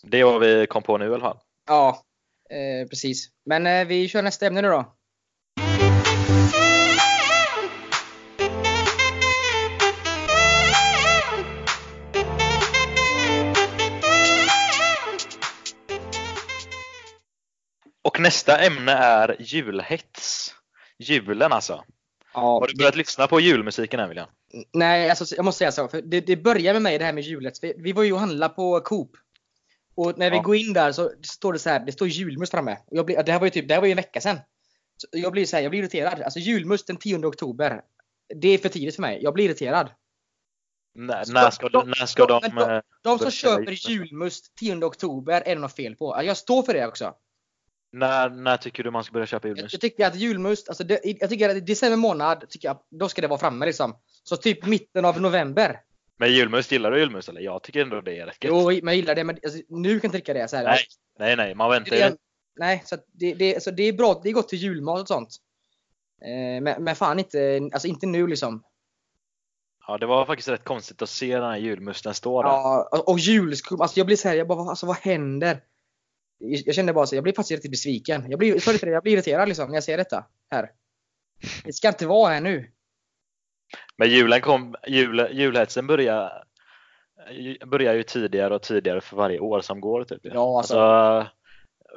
S1: Det är vad vi kom på nu i alla fall.
S2: Ja, eh, precis. Men eh, vi kör nästa ämne nu då.
S1: Och nästa ämne är julhets. Julen alltså.
S2: Ja,
S1: Har du börjat lyssna på julmusiken än William?
S2: Nej, alltså, jag måste säga så. För det, det börjar med mig det här med julet. Vi, vi var ju och handlade på Coop. Och när vi
S1: Ja.
S2: går in där så står det så här, det står julmust framme. Och jag blir, det här var ju typ, det här var ju en vecka sedan. Så jag blir så här, jag blir irriterad. Alltså julmust den 10 oktober. Det är för tidigt för mig. Jag blir irriterad.
S1: När,
S2: Stopp,
S1: när ska,
S2: stopp,
S1: när ska
S2: stopp,
S1: de...
S2: men
S1: eh,
S2: De som
S1: Börja
S2: köper
S1: julmust.
S2: julmust 10 oktober är det något fel på. Alltså, Jag står för det också.
S1: När, när tycker du man ska börja köpa
S2: Jag,
S1: julmust?
S2: jag tycker att julmust, alltså det, jag tycker att i december månad, tycker jag, då ska det vara framme liksom. Så typ mitten av november.
S1: Men julmust, gillar du julmust eller? Jag tycker ändå det är rätt gött.
S2: Jo, men jag gillar det. Men alltså, nu kan jag dricka det så här.
S1: Nej, nej, nej, man väntar
S2: det,
S1: ju.
S2: är- nej, så att det, det, så det är bra. Det är gott till julmat och sånt. Eh, men, men fan inte, alltså inte nu liksom.
S1: Ja, det var faktiskt rätt konstigt att se den här julmusten stå där.
S2: Ja, och, och julskum. Alltså jag blir så här, jag bara, vad- alltså vad händer? Jag, jag känner bara så, jag blir faktiskt riktigt besviken. Jag blir, sorry, för det, jag blir irriterad liksom när jag ser detta. Här. Det ska inte vara här nu.
S1: Men julen kom, jul, julhetsen börjar, ju- börjar ju tidigare och tidigare för varje år som går. Typ.
S2: Ja, alltså.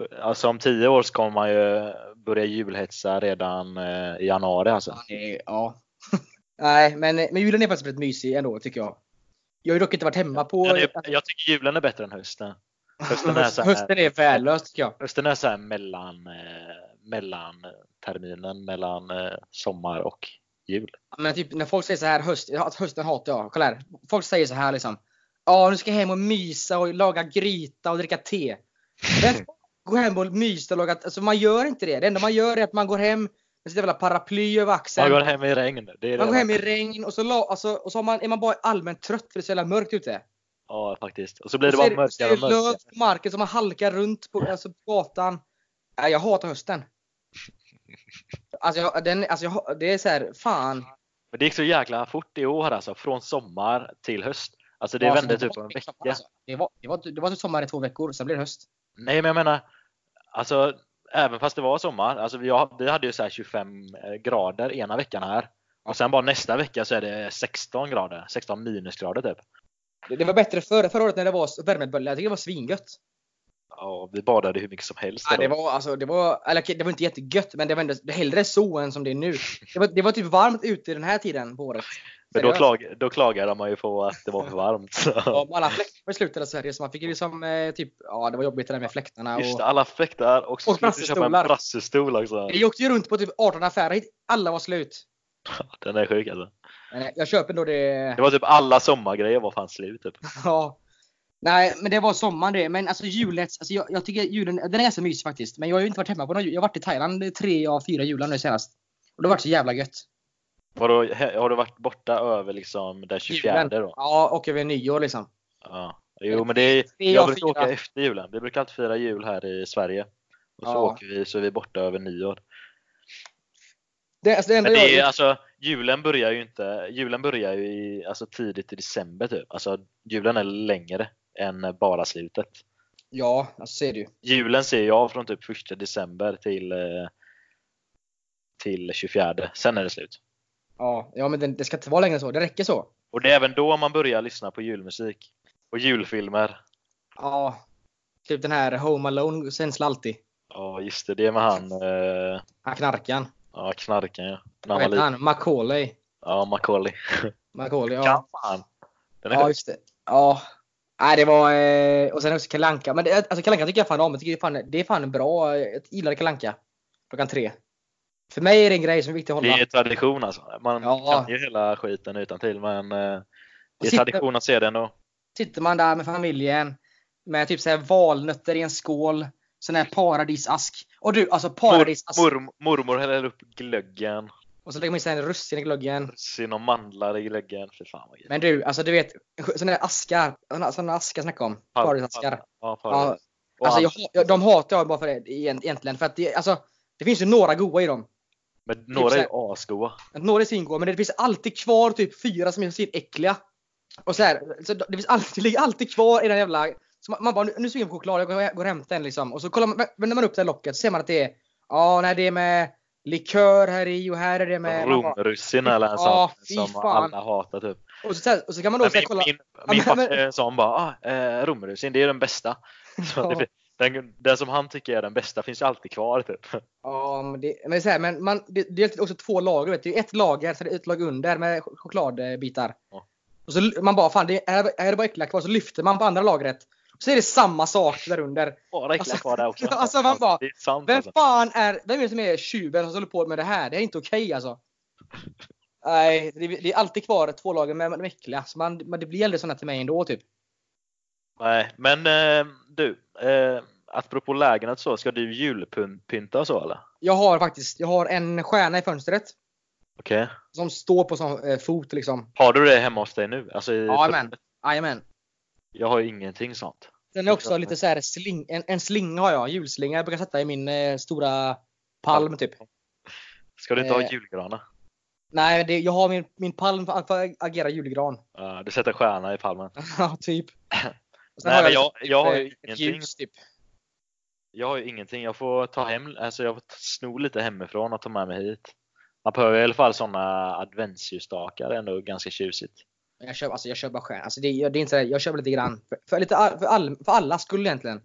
S1: Alltså, alltså om tio år så kommer man ju börja julhetsa redan eh, i januari. Alltså.
S2: Fan, det är- Ja. nej, men, men julen är faktiskt rätt mysig ändå tycker jag. Jag har ju dock inte varit hemma på...
S1: Men det- jag tycker julen är bättre än hösten. hösten är så här-
S2: hösten är värdelös tycker jag.
S1: Hösten är så här mellan, eh, mellan terminen, mellan eh, sommar och jul.
S2: Ja, Men typ när folk säger så här höst, att hösten hatar jag. Kolla här. Folk säger så här liksom. Ja, nu ska jag hem och mysa och laga gryta och dricka te. Vem fan går hem och myser och lagar Alltså man gör inte det. Det enda man gör är att man går hem med sitt jävla paraply över axeln.
S1: Man går hem i regn. Det är det
S2: man går hem i regn och så, la, alltså, och så har man, är man bara allmänt trött för det är så jävla mörkt ute.
S1: Ja, faktiskt. Och så blir det
S2: Och
S1: bara
S2: så är så är
S1: mörkare och
S2: det löv
S1: mörkare.
S2: på marken som man halkar runt på, alltså, på gatan. Nej, jag hatar hösten. Alltså, jag, den, alltså jag, det är så här, fan.
S1: Men det gick så jäkla fort i år alltså, från sommar till höst. Alltså det
S2: Ja,
S1: vände
S2: alltså,
S1: typ på en
S2: liksom,
S1: vecka.
S2: alltså, Mm. Det var, det, var, det var typ sommar i två veckor, sen blev det höst.
S1: Nej men jag menar, alltså även fast det var sommar, alltså vi, har- vi hade ju så här 25 eh, grader ena veckan här. Och sen bara nästa vecka så är det 16 grader, 16 minusgrader typ.
S2: Det, det var bättre förra, förra året när det var s- värmebölja. Jag tycker det var svingött.
S1: Ja, vi badade hur mycket som helst.
S2: Ja, det,
S1: då.
S2: var, alltså, det, var, eller, okej, det var inte jättegött, men det var ändå det var hellre så än som det är nu. Det var, det var typ varmt ute den här tiden på året.
S1: men då,
S2: Seriöst.
S1: klag, då klagade man ju på att det var för varmt. Så.
S2: Ja, Alla fläktar var slut i hela Sverige, så man fick ju liksom eh, typ, ja det var jobbigt det där med fläktarna.
S1: Just det,
S2: Och,
S1: alla fäktar och så
S2: Och
S1: skulle vi köpa en
S2: brassestolar.
S1: brassestol också.
S2: jag åkte ju runt på typ 18 affärer, hit. alla var slut.
S1: Den är sjuk alltså.
S2: Eh, Jag köper ändå det.
S1: Det var typ alla sommargrejer var fan slut typ.
S2: Ja. Nej, men det var sommaren det. Men alltså julet, alltså jag, jag tycker julen, den är ganska mysig faktiskt. Men jag har ju inte varit hemma på någon jul. Jag har varit i Thailand tre av fyra jular nu senast. Och det har varit så jävla gött.
S1: Vadå, he- har du varit borta över liksom den 24
S2: Julen.
S1: då?
S2: Ja, och över nyår liksom.
S1: Ja. Jo men det är,
S2: Tre av
S1: jag brukar
S2: fyra.
S1: åka efter julen. Vi brukar alltid fira jul här i Sverige. Och så
S2: Ja.
S1: åker vi så är vi borta över nyår.
S2: Det, alltså, det enda
S1: Men det är,
S2: jag,
S1: alltså, julen börjar ju inte, julen börjar ju i, alltså, tidigt i december typ. Alltså julen är längre än bara slutet.
S2: ja, alltså ser du ju.
S1: Julen ser jag från typ 1 december till, eh, till 24. Sen är det slut.
S2: Ja, ja men det, det ska inte vara längre än så. Det räcker så.
S1: Och det är även då man börjar lyssna på julmusik. Och julfilmer.
S2: Ja. Typ den här Home Alone känslan alltid.
S1: Ja just det, det är med han eh,
S2: Han knarkan.
S1: Ja, knarken ja. När
S2: Vad
S1: man
S2: heter
S1: liten.
S2: han? Macaulay.
S1: Ja, Macaulay.
S2: Macaulay, ja.
S1: Kan fan. Den är
S2: Ja,
S1: sjuk.
S2: just det. Ja. Nej, det var... eh, Och sen också Kalle Anka. Men det, alltså, Kalle Anka tycker jag fan om. Jag tycker fan, det är fan bra. Jag gillar Kalle Anka. Klockan tre. För mig är det en grej som är viktig att
S1: Det
S2: hålla.
S1: är tradition alltså. Man
S2: Ja.
S1: kan ju hela skiten utan till men eh, det är
S2: Sitter-
S1: tradition att se den då.
S2: Sitter man där med familjen med typ så här valnötter i en skål. Sån här paradisask. Och du, alltså paradisask.
S1: Mor, mor, mormor häller upp glöggen.
S2: Och så lägger man in sån här russin i glöggen.
S1: Russin och mandlar i glöggen. Fy fan vad gött.
S2: Men du, alltså du vet. Såna här askar. Såna- Såna askar snackar jag om.
S1: Par-
S2: Paradisaskar.
S1: par- Ja, par-
S2: Ja,
S1: och
S2: alltså, jag,
S1: allt.
S2: jag- de hatar jag bara för det egent- egentligen. För att det, alltså, det finns ju några goa i dem.
S1: Men några
S2: så
S1: är
S2: här-
S1: ju asgoa.
S2: Några är svingoda men det finns alltid kvar typ fyra som är svinäckliga. Och så här, så det, finns alltid, det ligger alltid kvar i den jävla Så man, man bara, nu nu är jag sugen på choklad, jag går, går och hämtar en liksom. Och så kollar man, vänder man upp det här locket så ser man att det är, ja nej det är med likör här i och här är det med... man bara-
S1: Romrussin eller en sån
S2: Ja, fy
S1: som
S2: fan.
S1: alla hatar typ.
S2: Och så, så, här- och så kan man då
S1: Nej,
S2: så här,
S1: min
S2: kolla.
S1: min,
S2: Ja,
S1: min
S2: men-
S1: pappa är en sån bara, ah, eh, romrussin det är den bästa. Så att det,
S2: Ja.
S1: fin- den, den som han tycker är den bästa finns ju alltid kvar typ.
S2: Ja, men det, men det är så här, men man, det, det är också två lager. Vet du. Det är ett lager, så det är ett lager under med ch- chokladbitar.
S1: Ja.
S2: Och så l- man bara, fan det är, är det bara äckliga kvar? Så lyfter man på andra lagret. Så är det samma sak där under.
S1: Bara äckliga
S2: Alltså-
S1: kvar där också.
S2: Alltså, man bara,
S1: det är sant
S2: Vem
S1: alltså.
S2: fan är, vem är det som är tjuven som håller på med det här? Det är inte okej alltså. Nej, det, det är alltid kvar två lager med de äckliga. Så man, man, det blir aldrig såna till mig ändå typ.
S1: Nej, men eh, du. Eh, apropå lägenhet så, ska du julpynta och så eller?
S2: Jag har faktiskt, jag har en stjärna i fönstret.
S1: Okej.
S2: Som står på sån eh, fot liksom.
S1: Har du det hemma hos dig nu? Alltså, i,
S2: Jajamän. Jajamän.
S1: Jag har ju ingenting sånt.
S2: Den är också lite så här sling, en, en slinga har jag, julslinga jag brukar sätta i min eh, stora palm typ.
S1: Ska du inte ha
S2: Eh.
S1: julgranar?
S2: Nej, det, jag har min, min palm för att för att agera julgran.
S1: Ja, Eh, du sätter stjärna i palmen.
S2: Ja, typ. Och sen
S1: Nej, men jag,
S2: liksom
S1: jag har ju
S2: ett- ett
S1: ingenting.
S2: ljus, typ.
S1: Jag har ju ingenting. Jag får ta hem, alltså jag får t- sno lite hemifrån och ta med mig hit. Man behöver i alla fall såna adventsljusstakar. Det är ändå ganska tjusigt.
S2: Jag köper, alltså, jag köper bara stjärn. Alltså, det, jag- det är inte så här, jag köper lite grann. För, för, lite all, för, all, för alla skulle egentligen.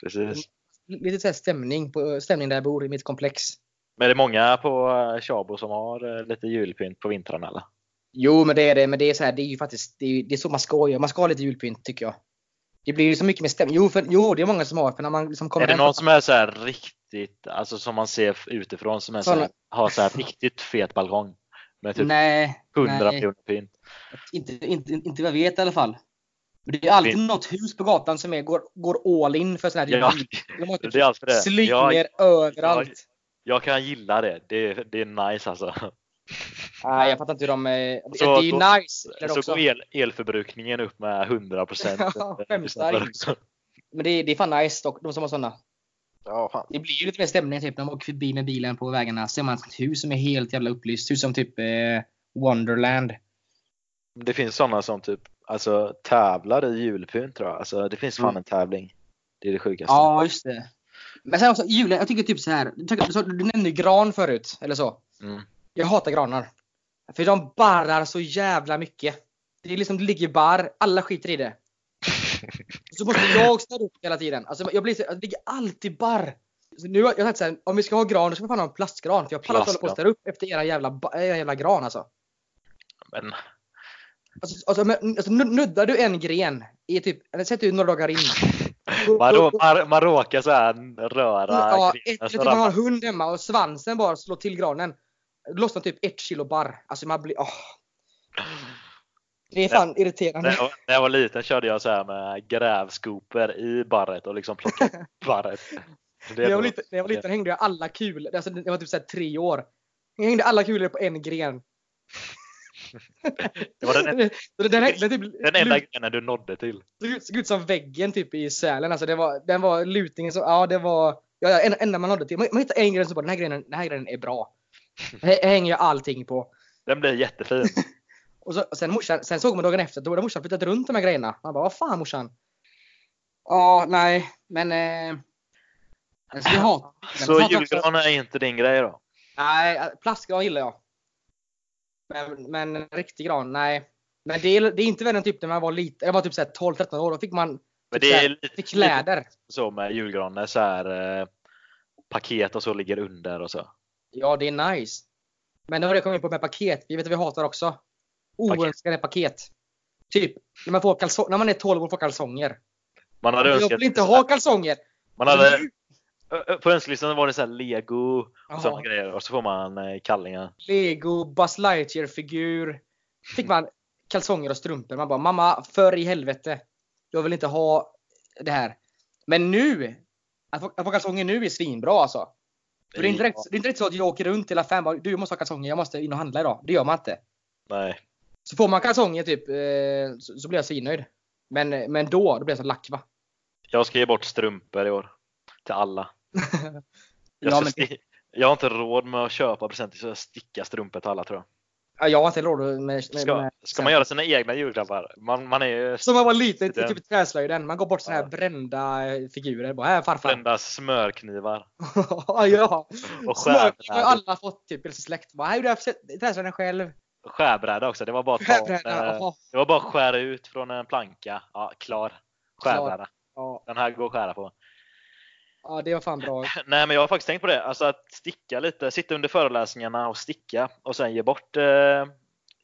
S1: Precis.
S2: Lite så här stämning, på, stämning där jag bor i mitt komplex.
S1: Men det är många på eh, Tjabo som har eh, lite julpynt på vintrarna eller?
S2: Jo, men det är det. Men det är så här, det är ju faktiskt, det är, det är så man ska göra. Man ska ha lite julpynt tycker jag. Det blir ju så mycket mer stämning. Jo, för, jo, det är många som har. För när man liksom kommer
S1: Är det
S2: hem från-
S1: någon som är så här riktigt, alltså som man ser f- utifrån som är så här,
S2: Såna.
S1: har så här riktigt fet balkong? Med typ
S2: Nej,
S1: 100
S2: nej.
S1: miljoner pynt.
S2: Inte, inte, inte vad jag vet i alla fall. Men det är alltid något hus på gatan som är, går, går all in för sån här
S1: Ja,
S2: De har typ
S1: det är alltid det.
S2: slingor
S1: Jag,
S2: överallt.
S1: jag kan gilla det. det. Det är nice alltså.
S2: Nej, jag fattar inte hur de... eh,
S1: Så
S2: det är ju
S1: går-
S2: nice eller
S1: Så
S2: också.
S1: går el, elförbrukningen upp med 100 procent.
S2: Ja, skämtar. Men det är, det är fan nice dock, de som har såna.
S1: Ja, fan.
S2: Det blir ju lite mer stämning typ när man åker förbi med bilen på vägarna. Ser man ett hus som är helt jävla upplyst. Hus som typ eh, Wonderland.
S1: Det finns sådana som typ alltså, tävlar i julpynt tror jag. Alltså, det finns fan
S2: Mm.
S1: en tävling. Det är det sjukaste.
S2: Ja, just det. Men sen också julen, jag tycker typ så här. Du, så- du nämnde ju gran förut, eller så.
S1: Mm.
S2: Jag hatar granar. För de barrar så jävla mycket. Det är liksom, det ligger barr, alla skiter i det. Så måste jag städa upp hela tiden. Alltså jag blir så, det ligger alltid barr. Så nu har jag sagt såhär, om vi ska ha gran, då ska vi fan ha en plastgran. För jag pallar inte hålla på och städa upp efter era jävla, ba- era jävla gran alltså.
S1: Men
S2: Alltså, alltså, men, alltså nu- nuddar du en gren i typ, eller sätter du några dagar in. då-
S1: man,
S2: då-
S1: rå, man, man råkar så här röra
S2: Ja,
S1: grenen,
S2: ett, jag
S1: så
S2: tycker man har
S1: ramlar-
S2: en hund hemma och svansen bara slår till granen. Då lossnar typ ett kilo barr. Alltså man blir, åh. Det är fan irriterande.
S1: När jag, när jag var liten körde jag så här med grävskopor i barret och liksom plockade upp barret. Det
S2: när,
S1: är
S2: jag var
S1: bra.
S2: liten, när jag var liten hängde jag alla kulor. Alltså, jag var typ såhär tre år. Jag hängde alla kulor på en gren.
S1: Det var den,
S2: den, den, den typ
S1: den enda
S2: lut-
S1: grenen du nådde till.
S2: såg ut- såg ut som väggen typ i Sälen. Alltså, det var, den var lutningen som, ja det var, ja, ja, en- enda man nådde till. Man, man hittade en gren som bara, den här grenen, den här grenen är bra. Här hänger jag allting på.
S1: Den blev jättefin.
S2: Och så, sen, morsan, sen såg man dagen efter att då hade morsan flyttat runt de här grejerna. Man bara, vad fan morsan? Ja, nej, men... Eh, alltså, jag hatar,
S1: Så julgran är inte din grej då?
S2: Nej, eh, plastgran gillar jag. Men, men riktig gran, nej. Men det är, det är inte värre än typ när man var liten. Jag var typ 12-13 år. Då fick man
S1: Men
S2: typ
S1: det
S2: så
S1: är
S2: här,
S1: lite,
S2: fick kläder.
S1: så med julgranar så här eh, paket och så ligger under och så.
S2: Ja, det är nice. Men det var det jag kom in på med paket. Vi vet att vi hatar också. Oönskade paket. Typ när man, får kalso- när man är 12 och får kalsonger.
S1: Man hade
S2: Jag
S1: önskat
S2: vill inte ha kalsonger!
S1: man hade, ö- ö- på önskelistan var det så här lego och sådana
S2: Jaha.
S1: grejer och så får man eh, kallingar.
S2: Lego, Buzz Lightyear-figur. Fick man kalsonger och strumpor. Man bara, mamma för i helvete. Jag vill inte ha det här. Men nu! Att få, att få kalsonger nu är svinbra alltså. För det, är inte direkt, det är inte direkt så att jag åker runt till affären och bara, du jag måste ha kalsonger, jag måste in och handla idag. Det gör man inte.
S1: Nej.
S2: Så får man kalsonger typ, eh, så, så blir jag svinnöjd. Men, men då, då blir jag så lack va?
S1: Jag ska ge bort strumpor i år. Till alla. Jag,
S2: Ja,
S1: ska
S2: men det-
S1: sti- jag har inte råd med att köpa presenter så jag stickar strumpor till alla tror jag.
S2: Ja, Jag har inte råd med, med,
S1: Ska,
S2: med
S1: Ska man göra sina egna julklappar? Man, man är ju
S2: eh, Som man var liten,
S1: Den.
S2: typ i träslöjden. Man går bort såna här
S1: Ja.
S2: brända eh, figurer. Bara, här farfar.
S1: brända smörknivar.
S2: ja.
S1: Och
S2: Smörkniv har ju
S1: skärbrädor.
S2: alla fått typ i sin släkt. Bara, här gjorde jag för- träslöjden själv.
S1: Skärbräda också. Det var bara att ta,
S2: Skärbräda.
S1: eh,
S2: Ja,
S1: det var bara att skära ut från en planka. Ja, klar. Skärbräda.
S2: ja,
S1: Den här går att skära på.
S2: ja, det var fan bra.
S1: Nej, men jag har faktiskt tänkt på det. Alltså att sticka lite. Sitta under föreläsningarna och sticka. Och sen ge bort, eh, ge
S2: Man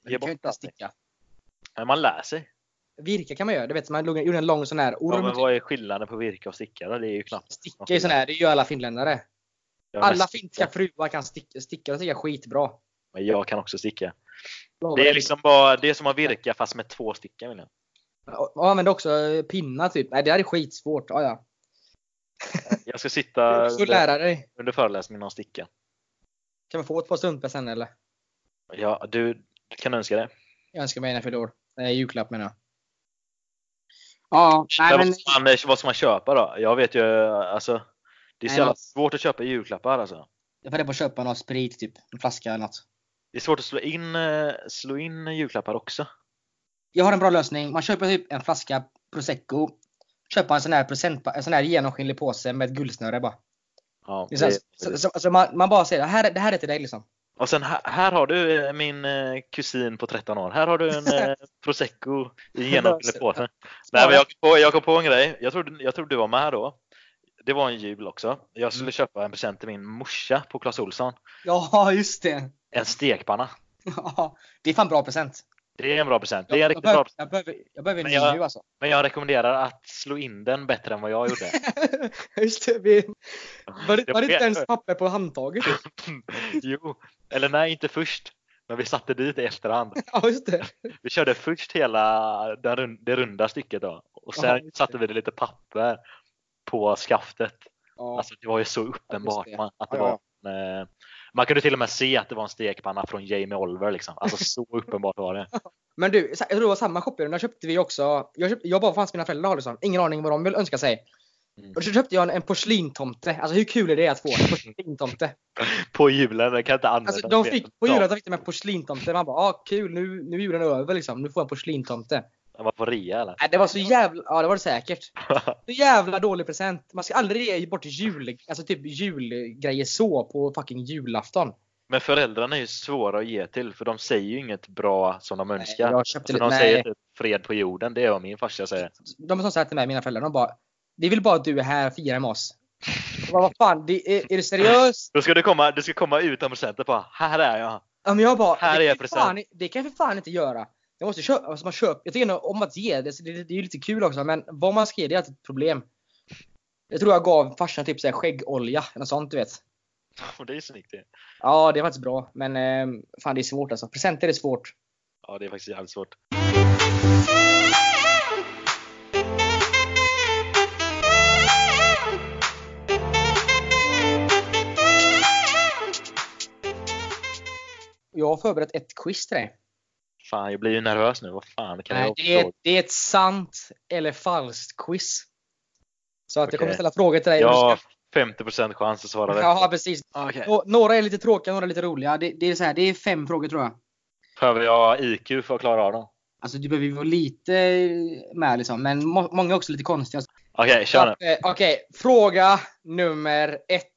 S2: kan ju
S1: bort
S2: inte
S1: allting.
S2: sticka.
S1: Men man lär sig.
S2: Virka kan man göra. Du vet, man gjorde en lång sån här
S1: Ja,
S2: orm.
S1: men vad är skillnaden på virka och sticka då? Det är ju knappt.
S2: sticka är ju sån här, det gör alla finländare.
S1: Jag är
S2: Alla
S1: mest- typ.
S2: finska fruar kan sticka, sticka och sticka skitbra.
S1: Men jag kan också sticka.
S2: Lovar
S1: Det är
S2: dig.
S1: liksom bara det är som att virka fast med två stycken. William.
S2: Och använde också eh, pinnar typ. Nej, det här är skitsvårt. Ja, ja.
S1: Jag ska
S2: Du
S1: sitta
S2: får
S1: under,
S2: lära dig.
S1: under föreläsningen och sticka.
S2: Kan man få ett par strumpor sen eller?
S1: Ja, du kan önska det.
S2: Jag önskar mig när jag fyller år. Nej, julklapp menar jag. Ja,
S1: Men
S2: nej men.
S1: vad, ska man, vad ska man köpa då? Jag vet ju alltså. Det är så
S2: Nej,
S1: jävla
S2: man-
S1: svårt att köpa julklappar alltså.
S2: Jag funderar på att köpa någon sprit typ. En flaska eller något.
S1: Det är svårt att slå in, eh, slå in julklappar också.
S2: Jag har en bra lösning. Man köper typ en flaska prosecco. Köpa en sån här, present, en sån här genomskinlig påse med ett guldsnöre bara.
S1: Ja,
S2: Det är så här,
S1: det-
S2: så, så, så man, man bara säger det här, det här är till dig liksom.
S1: Och sen här, här har du eh, min eh, kusin på 13 år. Här har du en eh, prosecco i genomskinlig påse. Nej, men jag, kom på, jag kom på en grej. Jag tror, jag tror du var med då. Det var en jul också. Jag
S2: Mm.
S1: skulle köpa en present till min morsa på Clas Ohlson.
S2: Ja, just det.
S1: En stekpanna.
S2: Ja, det är fan bra present.
S1: Det är en bra present. Det är en
S2: Jag, jag,
S1: riktigt bra
S2: behöver,
S1: present.
S2: jag, behöver, jag behöver en
S1: Men
S2: ny
S1: jag-
S2: nu alltså.
S1: Men jag rekommenderar att slå in den bättre än vad jag gjorde.
S2: Just det, vi... Var det,
S1: Det
S2: var det
S1: var-
S2: inte ens papper på handtaget?
S1: jo, eller nej, inte först. Men vi satte dit i efterhand.
S2: Ja, just det.
S1: Vi körde först hela den run- det runda stycket då. Och
S2: Ja,
S1: sen
S2: just det.
S1: satte vi det lite papper på skaftet.
S2: Ja,
S1: Alltså det var ju så uppenbart
S2: det.
S1: man, att det
S2: Ja, ja,
S1: var en, eh, Man kunde till och med se att det var en stekpanna från Jamie Oliver liksom. Alltså så uppenbart var det.
S2: Men du, sa- jag tror det var samma shoppingrunda köpte vi också. Jag, köpte, jag bara, vad fan ska mina föräldrar ha liksom? Ingen aning vad de vill önska sig.
S1: Mm.
S2: Och så köpte jag en, en porslintomte. Alltså hur kul är det att få en porslintomte?
S1: På julen, det kan jag inte använda.
S2: Alltså de
S1: det.
S2: fick, på julen fick de en porslintomte. Man bara, ah, kul, nu, nu är julen över liksom. Nu får jag en porslintomte.
S1: Ja, Man får rea eller?
S2: Nej, det var så jävla, ja det var det säkert. Så jävla dålig present. Man ska aldrig ge bort jul, alltså typ julgrejer så på fucking julafton.
S1: Men föräldrarna är ju svåra att ge till för de säger ju inget bra som de önskar.
S2: jag
S1: alltså,
S2: köpte det-
S1: de
S2: nej.
S1: säger typ fred på jorden, det är vad min farsa säger.
S2: de som sa till mig, mina föräldrar, de bara Vi vill bara att du är här och firar med oss. Jag bara, vad fan, det, är, är du seriös?
S1: Då ska du komma, du ska komma utan presenter bara här är jag.
S2: Ja, men jag bara,
S1: Här
S2: det,
S1: är
S2: kan
S1: present.
S2: jag fan, det kan jag för fan inte göra. Jag måste köpa, alltså man köper, jag tycker ändå om att ge, det, så det, det är ju lite kul också, men vad man ska ge det är alltid ett problem. Jag tror jag gav farsan typ så här skäggolja, eller något sånt du vet.
S1: Och det är snyggt det.
S2: Ja, det var faktiskt bra, men eh, fan det är svårt alltså. Presenter är svårt.
S1: Ja, det är faktiskt jävligt svårt.
S2: Jag har förberett ett quiz till dig.
S1: Fan, jag blir ju nervös nu. Vad fan kan
S2: Nej,
S1: jag
S2: det, är,
S1: fråga?
S2: det är ett sant eller falskt quiz. Så att jag kommer
S1: Okej.
S2: ställa frågor till dig.
S1: Jag
S2: och du ska
S1: har 50% chans att svara rätt.
S2: Ja, precis.
S1: Okej.
S2: Nå- Några är lite tråkiga, några är lite roliga. Det, det, är så här, det är fem frågor tror jag.
S1: Behöver jag IQ för att klara av dem?
S2: Alltså du behöver ju vara lite eh, med liksom, men må, många är också lite konstiga.
S1: Okej, kör nu.
S2: Så att, eh, Okej, fråga nummer ett.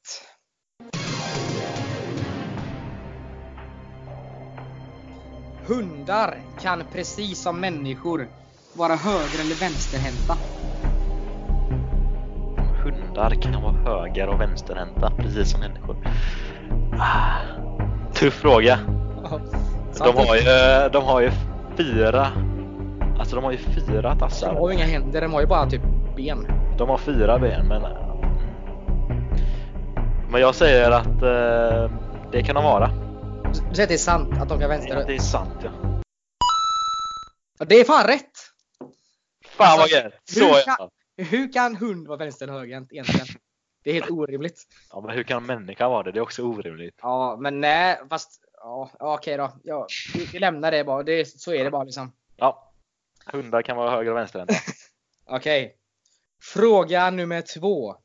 S2: Hundar kan precis som människor vara höger eller vänsterhänta.
S1: Hundar kan vara höger och vänsterhänta, precis som människor. Ah, Tuff fråga.
S2: Så
S1: De
S2: att-
S1: har ju, de har ju fyra... Alltså de har ju fyra
S2: de har
S1: tassar.
S2: ju inga händer, de har ju bara typ ben.
S1: De har fyra ben, men... mm. Men jag säger att eh, det kan de vara.
S2: Du säger att det är sant att de kan vänster...
S1: Det är sant ja.
S2: Ja, Det är fan rätt!
S1: Fan vad gött! Så
S2: hur
S1: ja.
S2: kan- Hur kan hund vara vänster eller högerhänt egentligen? Det är helt orimligt.
S1: Ja, men hur kan en människa vara det? Det är också orimligt.
S2: Ja, men nej, fast ja, ja, okej då. Ja, vi, vi lämnar det bara. Det, så är det bara liksom.
S1: Ja. Hundar kan vara höger och vänsterhänta.
S2: Okej. Fråga nummer två.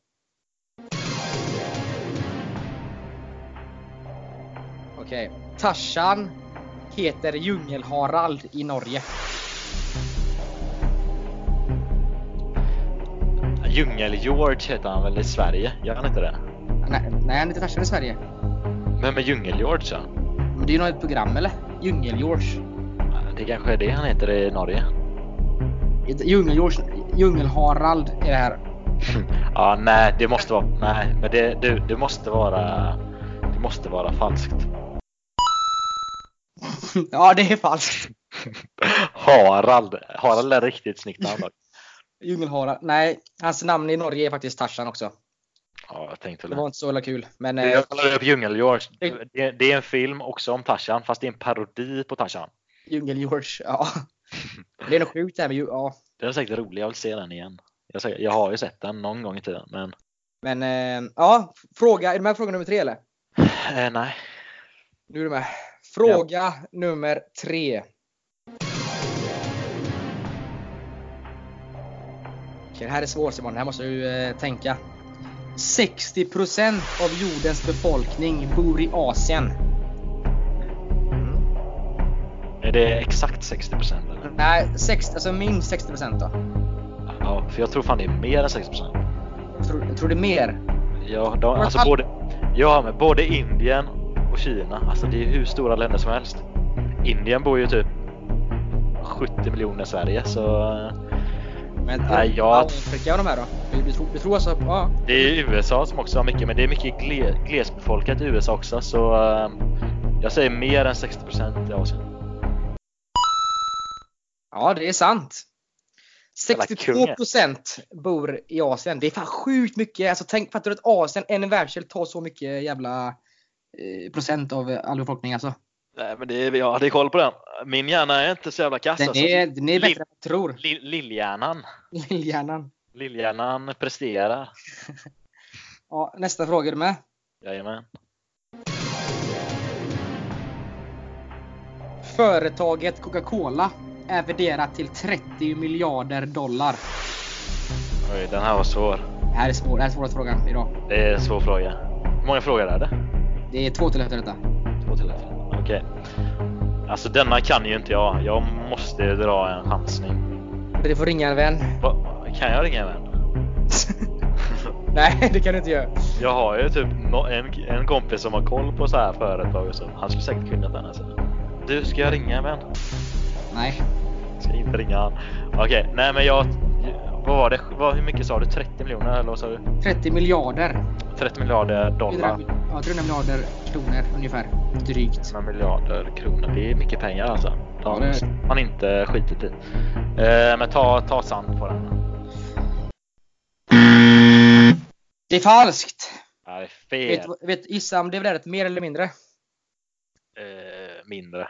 S2: Okej. Tarzan heter Djungel-Harald i Norge.
S1: Djungel-George heter han väl i Sverige? Gör han inte det?
S2: Nej, nej han är inte färsare i Sverige.
S1: Vem är Djungel-George då?
S2: Men det är ju något program eller? Djungel-George.
S1: Det kanske är det han heter i Norge?
S2: Djungel-George, Djungel-Harald är det här.
S1: Ja, nej, det måste vara... Nej, men det, det, det måste vara... Det måste vara falskt.
S2: ja, det är falskt.
S1: Harald. Harald är ett riktigt snyggt namn. dock.
S2: Djungel-Harald. Nej, hans namn i Norge är faktiskt Tarzan också.
S1: Ja, jag tänkte
S2: Det
S1: väl.
S2: var inte så jävla kul. Men eh,
S1: Jag kollade upp Djungel-George. Det, det är en film också om Tarzan, fast det är en parodi på Tarzan.
S2: Djungel-George, ja. Det är nog sjukt det här med djur- ja.
S1: Den är säkert rolig, jag vill se den igen. Jag, säger- jag har ju sett den någon gång i tiden, men
S2: Men eh, ja, fråga. Är du med på fråga nummer tre eller?
S1: eh, nej.
S2: Nu är du med. Fråga nummer tre. Okej, det här är svårt Simon. Det här måste du eh, tänka. 60% av jordens befolkning bor i Asien.
S1: Är det exakt 60 procent eller?
S2: Nej, 60, alltså minst 60% då.
S1: Ja, för jag tror fan det är mer än 60 procent.
S2: Tror, jag tror det är mer?
S1: Ja, de, alltså både, ja, men både Indien och Kina. Alltså det är hur stora länder som helst. Indien bor ju typ 70 miljoner i Sverige, så eh,
S2: Men
S1: Nej, jag-
S2: Afrika och de här då? Du, du, tror, du tror alltså... Ja.
S1: det är ju USA som också har mycket, men det är mycket gle, glesbefolkat i USA också, så eh, jag säger mer än 60 procent i Asien.
S2: Ja, det är sant.
S1: Jävla
S2: 62 procent bor i Asien. Det är fan sjukt mycket. Alltså, tänk, fattar du att Asien, en världsdel, tar så mycket jävla eh, procent av eh, all befolkning alltså.
S1: Nej, men det är, jag hade koll på den. Min hjärna är inte så jävla kass.
S2: Den
S1: alltså.
S2: är, den är
S1: Lill-
S2: bättre än man tror.
S1: Lill- Lillhjärnan.
S2: Lillhjärnan.
S1: Lillhjärnan presterar.
S2: Ja, nästa fråga är du med?
S1: Jajamän.
S2: Företaget Coca-Cola är värderat till 30 miljarder dollar.
S1: Oj, den här var svår.
S2: Det här är svår, det här är svåraste frågan idag.
S1: Det är en svår fråga. Hur många frågor är det?
S2: Det är två till efter detta.
S1: Två till. Okej. Alltså denna kan ju inte jag. Jag måste ju dra en chansning.
S2: Du får ringa en vän.
S1: Va, kan jag ringa en vän?
S2: Nej, det kan du inte göra.
S1: Jag har ju typ no- en, en kompis som har koll på så här företag och så. Han skulle säkert kunna den här sen. Du, ska jag ringa en vän?
S2: Nej.
S1: Ska inte ringa han. Okej, nej men jag... Vad var det? Vad, hur mycket sa du? 30 miljoner eller vad sa du?
S2: 30 miljarder.
S1: 30 miljarder dollar.
S2: 300, ja, 300 miljarder kronor ungefär. Drygt.
S1: 300 miljarder kronor. Det är mycket pengar alltså.
S2: Ja,
S1: Ja,
S2: det är-
S1: man inte skitit i. Eh, men ta, ta sant på den.
S2: Det är falskt!
S1: Ja, det är
S2: Vet,
S1: fel.
S2: vet, gissa om det är värdet mer eller mindre?
S1: Eh, mindre.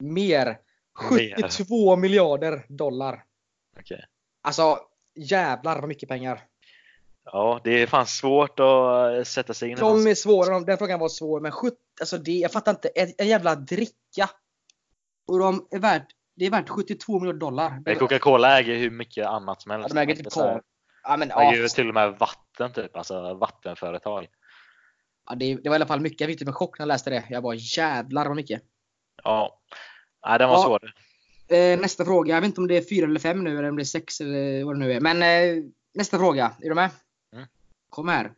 S2: Mer.
S1: Mer.
S2: 72 miljarder dollar.
S1: Okej.
S2: Alltså jävlar vad mycket pengar.
S1: Ja, det är fan svårt att eh, sätta sig in i.
S2: De är svåra, de- den frågan var svår. Men 70, alltså det, jag fattar inte. En, en jävla dricka. Och de är värt, det är värt 72 miljarder dollar.
S1: Men Coca-Cola äger hur mycket annat som
S2: Ja,
S1: helst.
S2: de äger typ
S1: Så här,
S2: kvar. Ja, men,
S1: de
S2: ja,
S1: äger ju till och med vatten typ. Alltså vattenföretag.
S2: ja, det, det var i alla fall mycket. Jag fick typ en chock när jag läste det. Jag bara jävlar vad mycket.
S1: Ja. Nej, den var
S2: Ja.
S1: svår.
S2: Eh, nästa fråga. Jag vet inte om det är fyra eller fem nu eller om det är sex eller vad det nu är. Men eh, nästa fråga. Är du med?
S1: Mm.
S2: Kom här.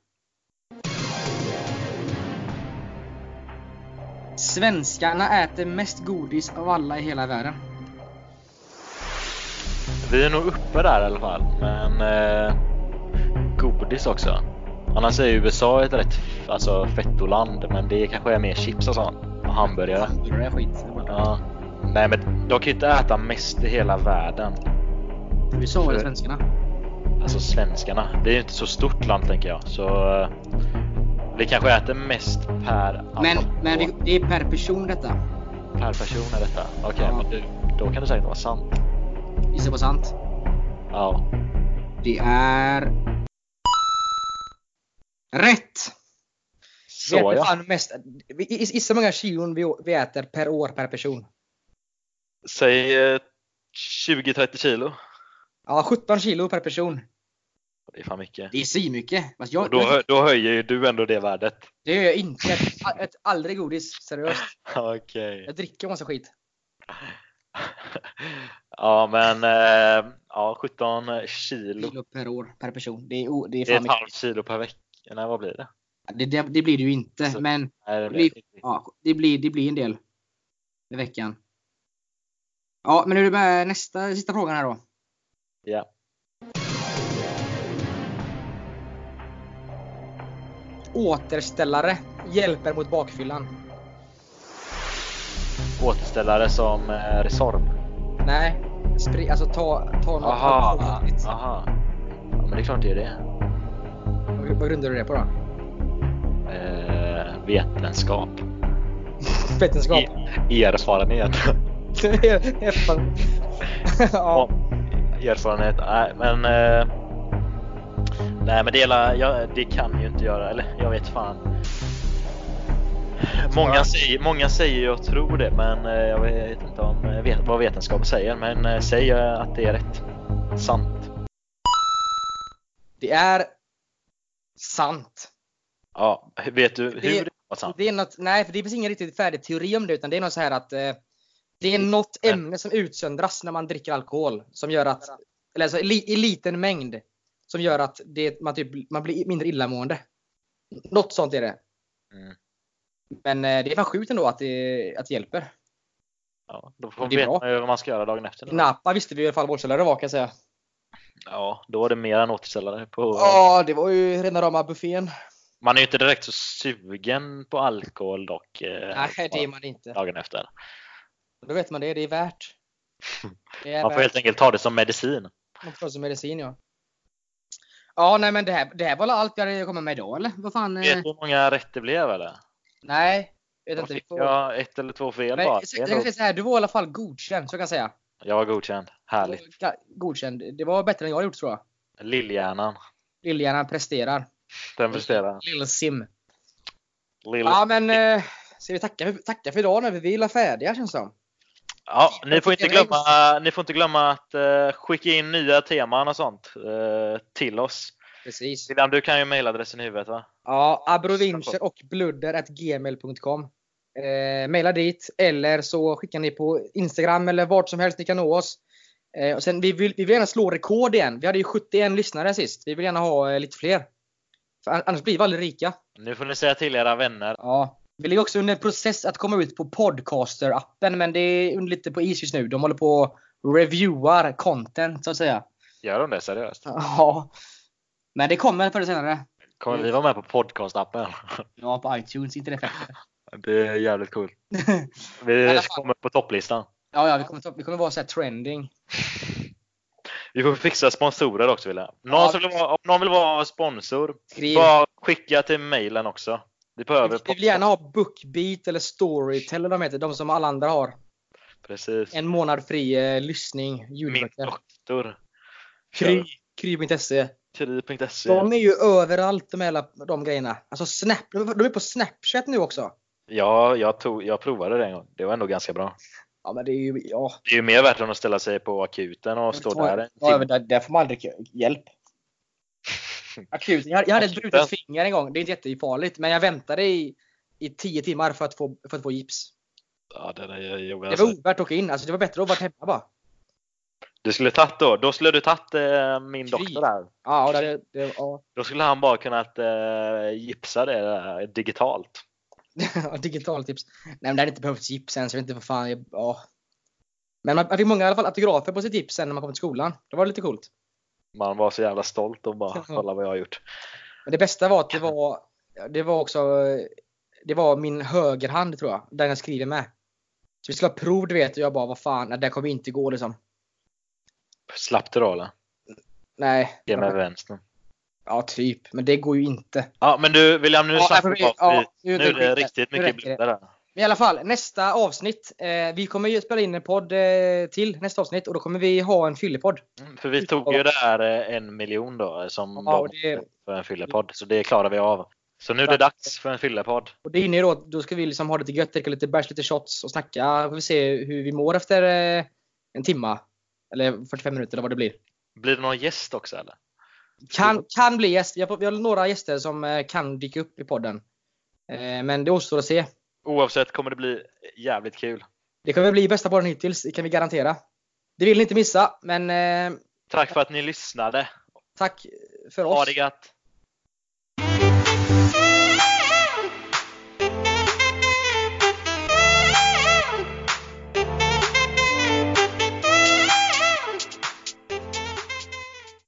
S2: Svenskarna äter mest godis av alla i hela världen.
S1: Vi är nog uppe där i alla fall. Men eh, godis också. Annars är ju USA ett rätt f- alltså, fettoland, men det kanske är mer chips och sånt. Och hamburgare.
S2: Det är skit.
S1: Ja. Nej men de kan ju inte äta mest i hela världen.
S2: USA eller svenskarna?
S1: Alltså svenskarna. Det är ju inte så stort land tänker jag. Så eh, vi kanske äter mest per,
S2: Men,
S1: alltså,
S2: men vi- det är per person detta.
S1: per person är detta. Okej,
S2: Ja.
S1: men du, då kan det säkert vara sant.
S2: Gissa på sant.
S1: Ja.
S2: Det är... Rätt! Vi
S1: Så
S2: äter
S1: ja.
S2: fan mest. vi- Gissa hur många kilon vi, vi äter per år per person.
S1: Säg eh, 20-30 kilo.
S2: Ja, 17 kilo per person.
S1: Och Det är fan mycket.
S2: Det är svinmycket. Fast jag,
S1: Och då, hö- då höjer ju du ändå det värdet.
S2: det gör jag inte. Jag äter äter aldrig godis. Seriöst.
S1: Okej.
S2: Jag dricker massa skit.
S1: ja men eh, ja, 17 kilo.
S2: Kilo per år, per person. Det är, o- det är
S1: Det är
S2: fan
S1: ett
S2: mycket.
S1: halvt kilo per vecka. Nej vad blir det?
S2: Det, det, det blir det ju inte.
S1: Så-
S2: Men
S1: Nej, det
S2: Det
S1: blir
S2: blir-
S1: inte riktigt.
S2: ja, det, blir, det blir en del. I veckan. Ja, men nu är det med nästa, sista frågan här då.
S1: Ja.
S2: Återställare hjälper mot bakfyllan.
S1: Återställare som eh, Resorb.
S2: Nej. Spri, alltså ta, ta något
S1: Aha.
S2: alkoholhaltigt.
S1: Aha. Ja, men det är klart det är det.
S2: Vad- Vad grundar du det på då?
S1: Eh, vetenskap.
S2: Vetenskap?
S1: E- erfarenhet.
S2: Erfarenhet. ja.
S1: Erfarenhet. Nej men. Eh, nej men det, hela, ja, det kan ju inte göra. Eller jag vet fan. Många
S2: Ja.
S1: säger, många säger jag tror det men eh, jag vet inte om, eh, vet, vad vetenskapen säger. Men eh, säg eh, att det är rätt. Sant.
S2: Det är sant.
S1: Ja, vet du hur
S2: Det-
S1: det var sant?
S2: Det är något, nej, för det finns ingen riktigt färdig teori om det, utan det är något så här att eh, det är något ämne som utsöndras när man dricker alkohol som gör att, eller alltså i, li, i liten mängd, som gör att det, man, typ, man blir mindre illamående. Något sånt är det.
S1: Mm.
S2: Men eh, det är fan sjukt ändå att det, att det hjälper.
S1: Ja, då får
S2: Det
S1: vi
S2: är
S1: veta
S2: bra.
S1: vad man ska göra dagen efter.
S2: I Napa visste vi i alla fall vårdkällare var kan jag säga.
S1: Ja, då är det mer än återställare. På...
S2: Ja, det var ju rena rama buffén.
S1: Man är ju inte direkt så sugen på alkohol dock. eh,
S2: Nej, det är man inte.
S1: Dagen efter.
S2: Då vet man det, det är värt. Det är
S1: Man får
S2: värt.
S1: helt enkelt ta det som medicin.
S2: Man får som medicin ja. Ja, nej men det här, det här var väl allt jag hade komma med idag eller? Vad fan? eh,
S1: Vet du hur många rätt det blev eller?
S2: Nej. Vet
S1: Jag
S2: inte. Vi
S1: fick
S2: får...
S1: jag ett eller två fel
S2: men,
S1: bara.
S2: jag,
S1: Det är
S2: jag kan
S1: nog-
S2: säga så här, du var i alla fall godkänd, så kan jag säga.
S1: Jag var godkänd. Härligt.
S2: Ja, Godkänd. Det var bättre än jag hade gjort tror jag.
S1: Lillhjärnan.
S2: Lillhjärnan presterar.
S1: Den presterar.
S2: Lill-Sim.
S1: Lill...
S2: Mm. Ja men, eh, ska vi tacka, för- tacka för idag nu? Vi är väl färdiga känns det som.
S1: Ja, ni, får inte
S2: jag tycker
S1: glömma, ni får inte glömma att eh, skicka in nya teman och sånt eh, till oss.
S2: Precis.
S1: William, du kan ju mejladressen i huvudet va?
S2: Ja, abrovincher och bludder.gmail.com. Eh, maila dit eller så skickar ni på Instagram eller vart som helst ni kan nå oss. Eh, och sen, vi, vill, vi vill gärna slå rekord igen. Vi hade ju 71 lyssnare sist. Vi vill gärna ha eh, lite fler. För an- annars blir vi aldrig rika.
S1: Nu får ni säga till era vänner.
S2: Ja. Vi ligger också under process att komma ut på Podcaster-appen men det är under- lite på is just nu. De håller på och reviewar content så att säga.
S1: Gör de det seriöst?
S2: Ja. Men det kommer förr eller senare.
S1: Kommer vi vara med på podcastappen?
S2: Ja, på iTunes. Inte det fett.
S1: Det är jävligt kul.
S2: alla
S1: Vi
S2: fall.
S1: kommer på topplistan.
S2: Ja, ja, vi kommer, ta- vi kommer vara så här trending.
S1: Vi får fixa sponsorer också Wille. Någon
S2: Ja.
S1: som vill vara, om någon vill vara sponsor,
S2: Skriv.
S1: bara skicka till mejlen också. Vi behöver
S2: Vi vill gärna ha Bookbeat eller Storytel eller de heter, de som alla andra har.
S1: Precis.
S2: En månad fri eh, lyssning,
S1: Min
S2: ljudböcker.
S1: doktor.
S2: Kry, kry.se.
S1: Kry.se.
S2: De är ju överallt de, hela, de grejerna. Alltså Snap, de är på Snapchat nu också.
S1: Ja, jag, tog, jag provade det en gång. Det var ändå ganska bra.
S2: Ja men det är ju, ja.
S1: Det är ju mer värt än att ställa sig på akuten och stå där en
S2: Ja, men
S1: timme.
S2: där, där får man aldrig k- hjälp. Akut. Jag, jag hade ett brutet
S1: Akuten.
S2: finger en gång, det är inte jättefarligt. Men jag väntade i, i tio timmar för att få, för att få gips.
S1: Ja, det där är jobbigt.
S2: Det
S1: Alltså,
S2: var ovärt att åka in, alltså det var bättre att vara hemma bara.
S1: du skulle tagit då. Då skulle du tagit eh, min
S2: Kry.
S1: doktor där.
S2: Ja, och det, det, ja.
S1: Då skulle han bara kunnat eh, gipsa det där digitalt.
S2: Ja, Digitala tips. Nej men det hade inte behövts gips än så jag vet inte vad fan. Jag, ja. Men man, man fick många i alla fall autografer på sitt gips sen när man kom till skolan. Det var lite coolt.
S1: Man var så jävla stolt och bara kolla vad jag har gjort.
S2: Men det bästa var att det var, det var också, eh, det var min högerhand tror jag, den jag skriver med. Så vi skulle ha prov du vet och jag bara vad fan, nej, det här kommer inte gå liksom.
S1: Slapp du då eller?
S2: Nej.
S1: Ge mig vänstern.
S2: Ja typ, men det går ju inte.
S1: Ja men du William nu
S2: Ja,
S1: slapp
S2: nej,
S1: du
S2: för vi-
S1: av.
S2: ja,
S1: nu, nu är det riktigt
S2: nu
S1: mycket
S2: räcker det.
S1: blundare.
S2: Men i alla fall, nästa avsnitt. Eh, vi kommer ju spela in en podd eh, till nästa avsnitt och då kommer vi ha en fyllepodd.
S1: Mm, För vi tog ju det här eh, en miljon då eh, som
S2: Ja,
S1: ja,
S2: och det-
S1: för en fyllepodd. Så det klarar vi av. Så nu är det dags för en fyllepodd.
S2: Och det innebär då att då ska vi liksom ha lite gött, dricka lite bärs, lite shots och snacka. Får vi se hur vi mår efter eh, en timma. Eller 45 minuter eller vad det blir.
S1: Blir det någon gäst också eller?
S2: Kan, kan bli gäst. Vi har, vi har några gäster som eh, kan dyka upp i podden. Eh, Men det återstår att se.
S1: Oavsett kommer det bli jävligt kul.
S2: Det kommer bli bästa podden hittills, det kan vi garantera. Det vill ni inte missa, men eh,
S1: Tack för att ni lyssnade.
S2: tack för oss.
S1: Ha det gött!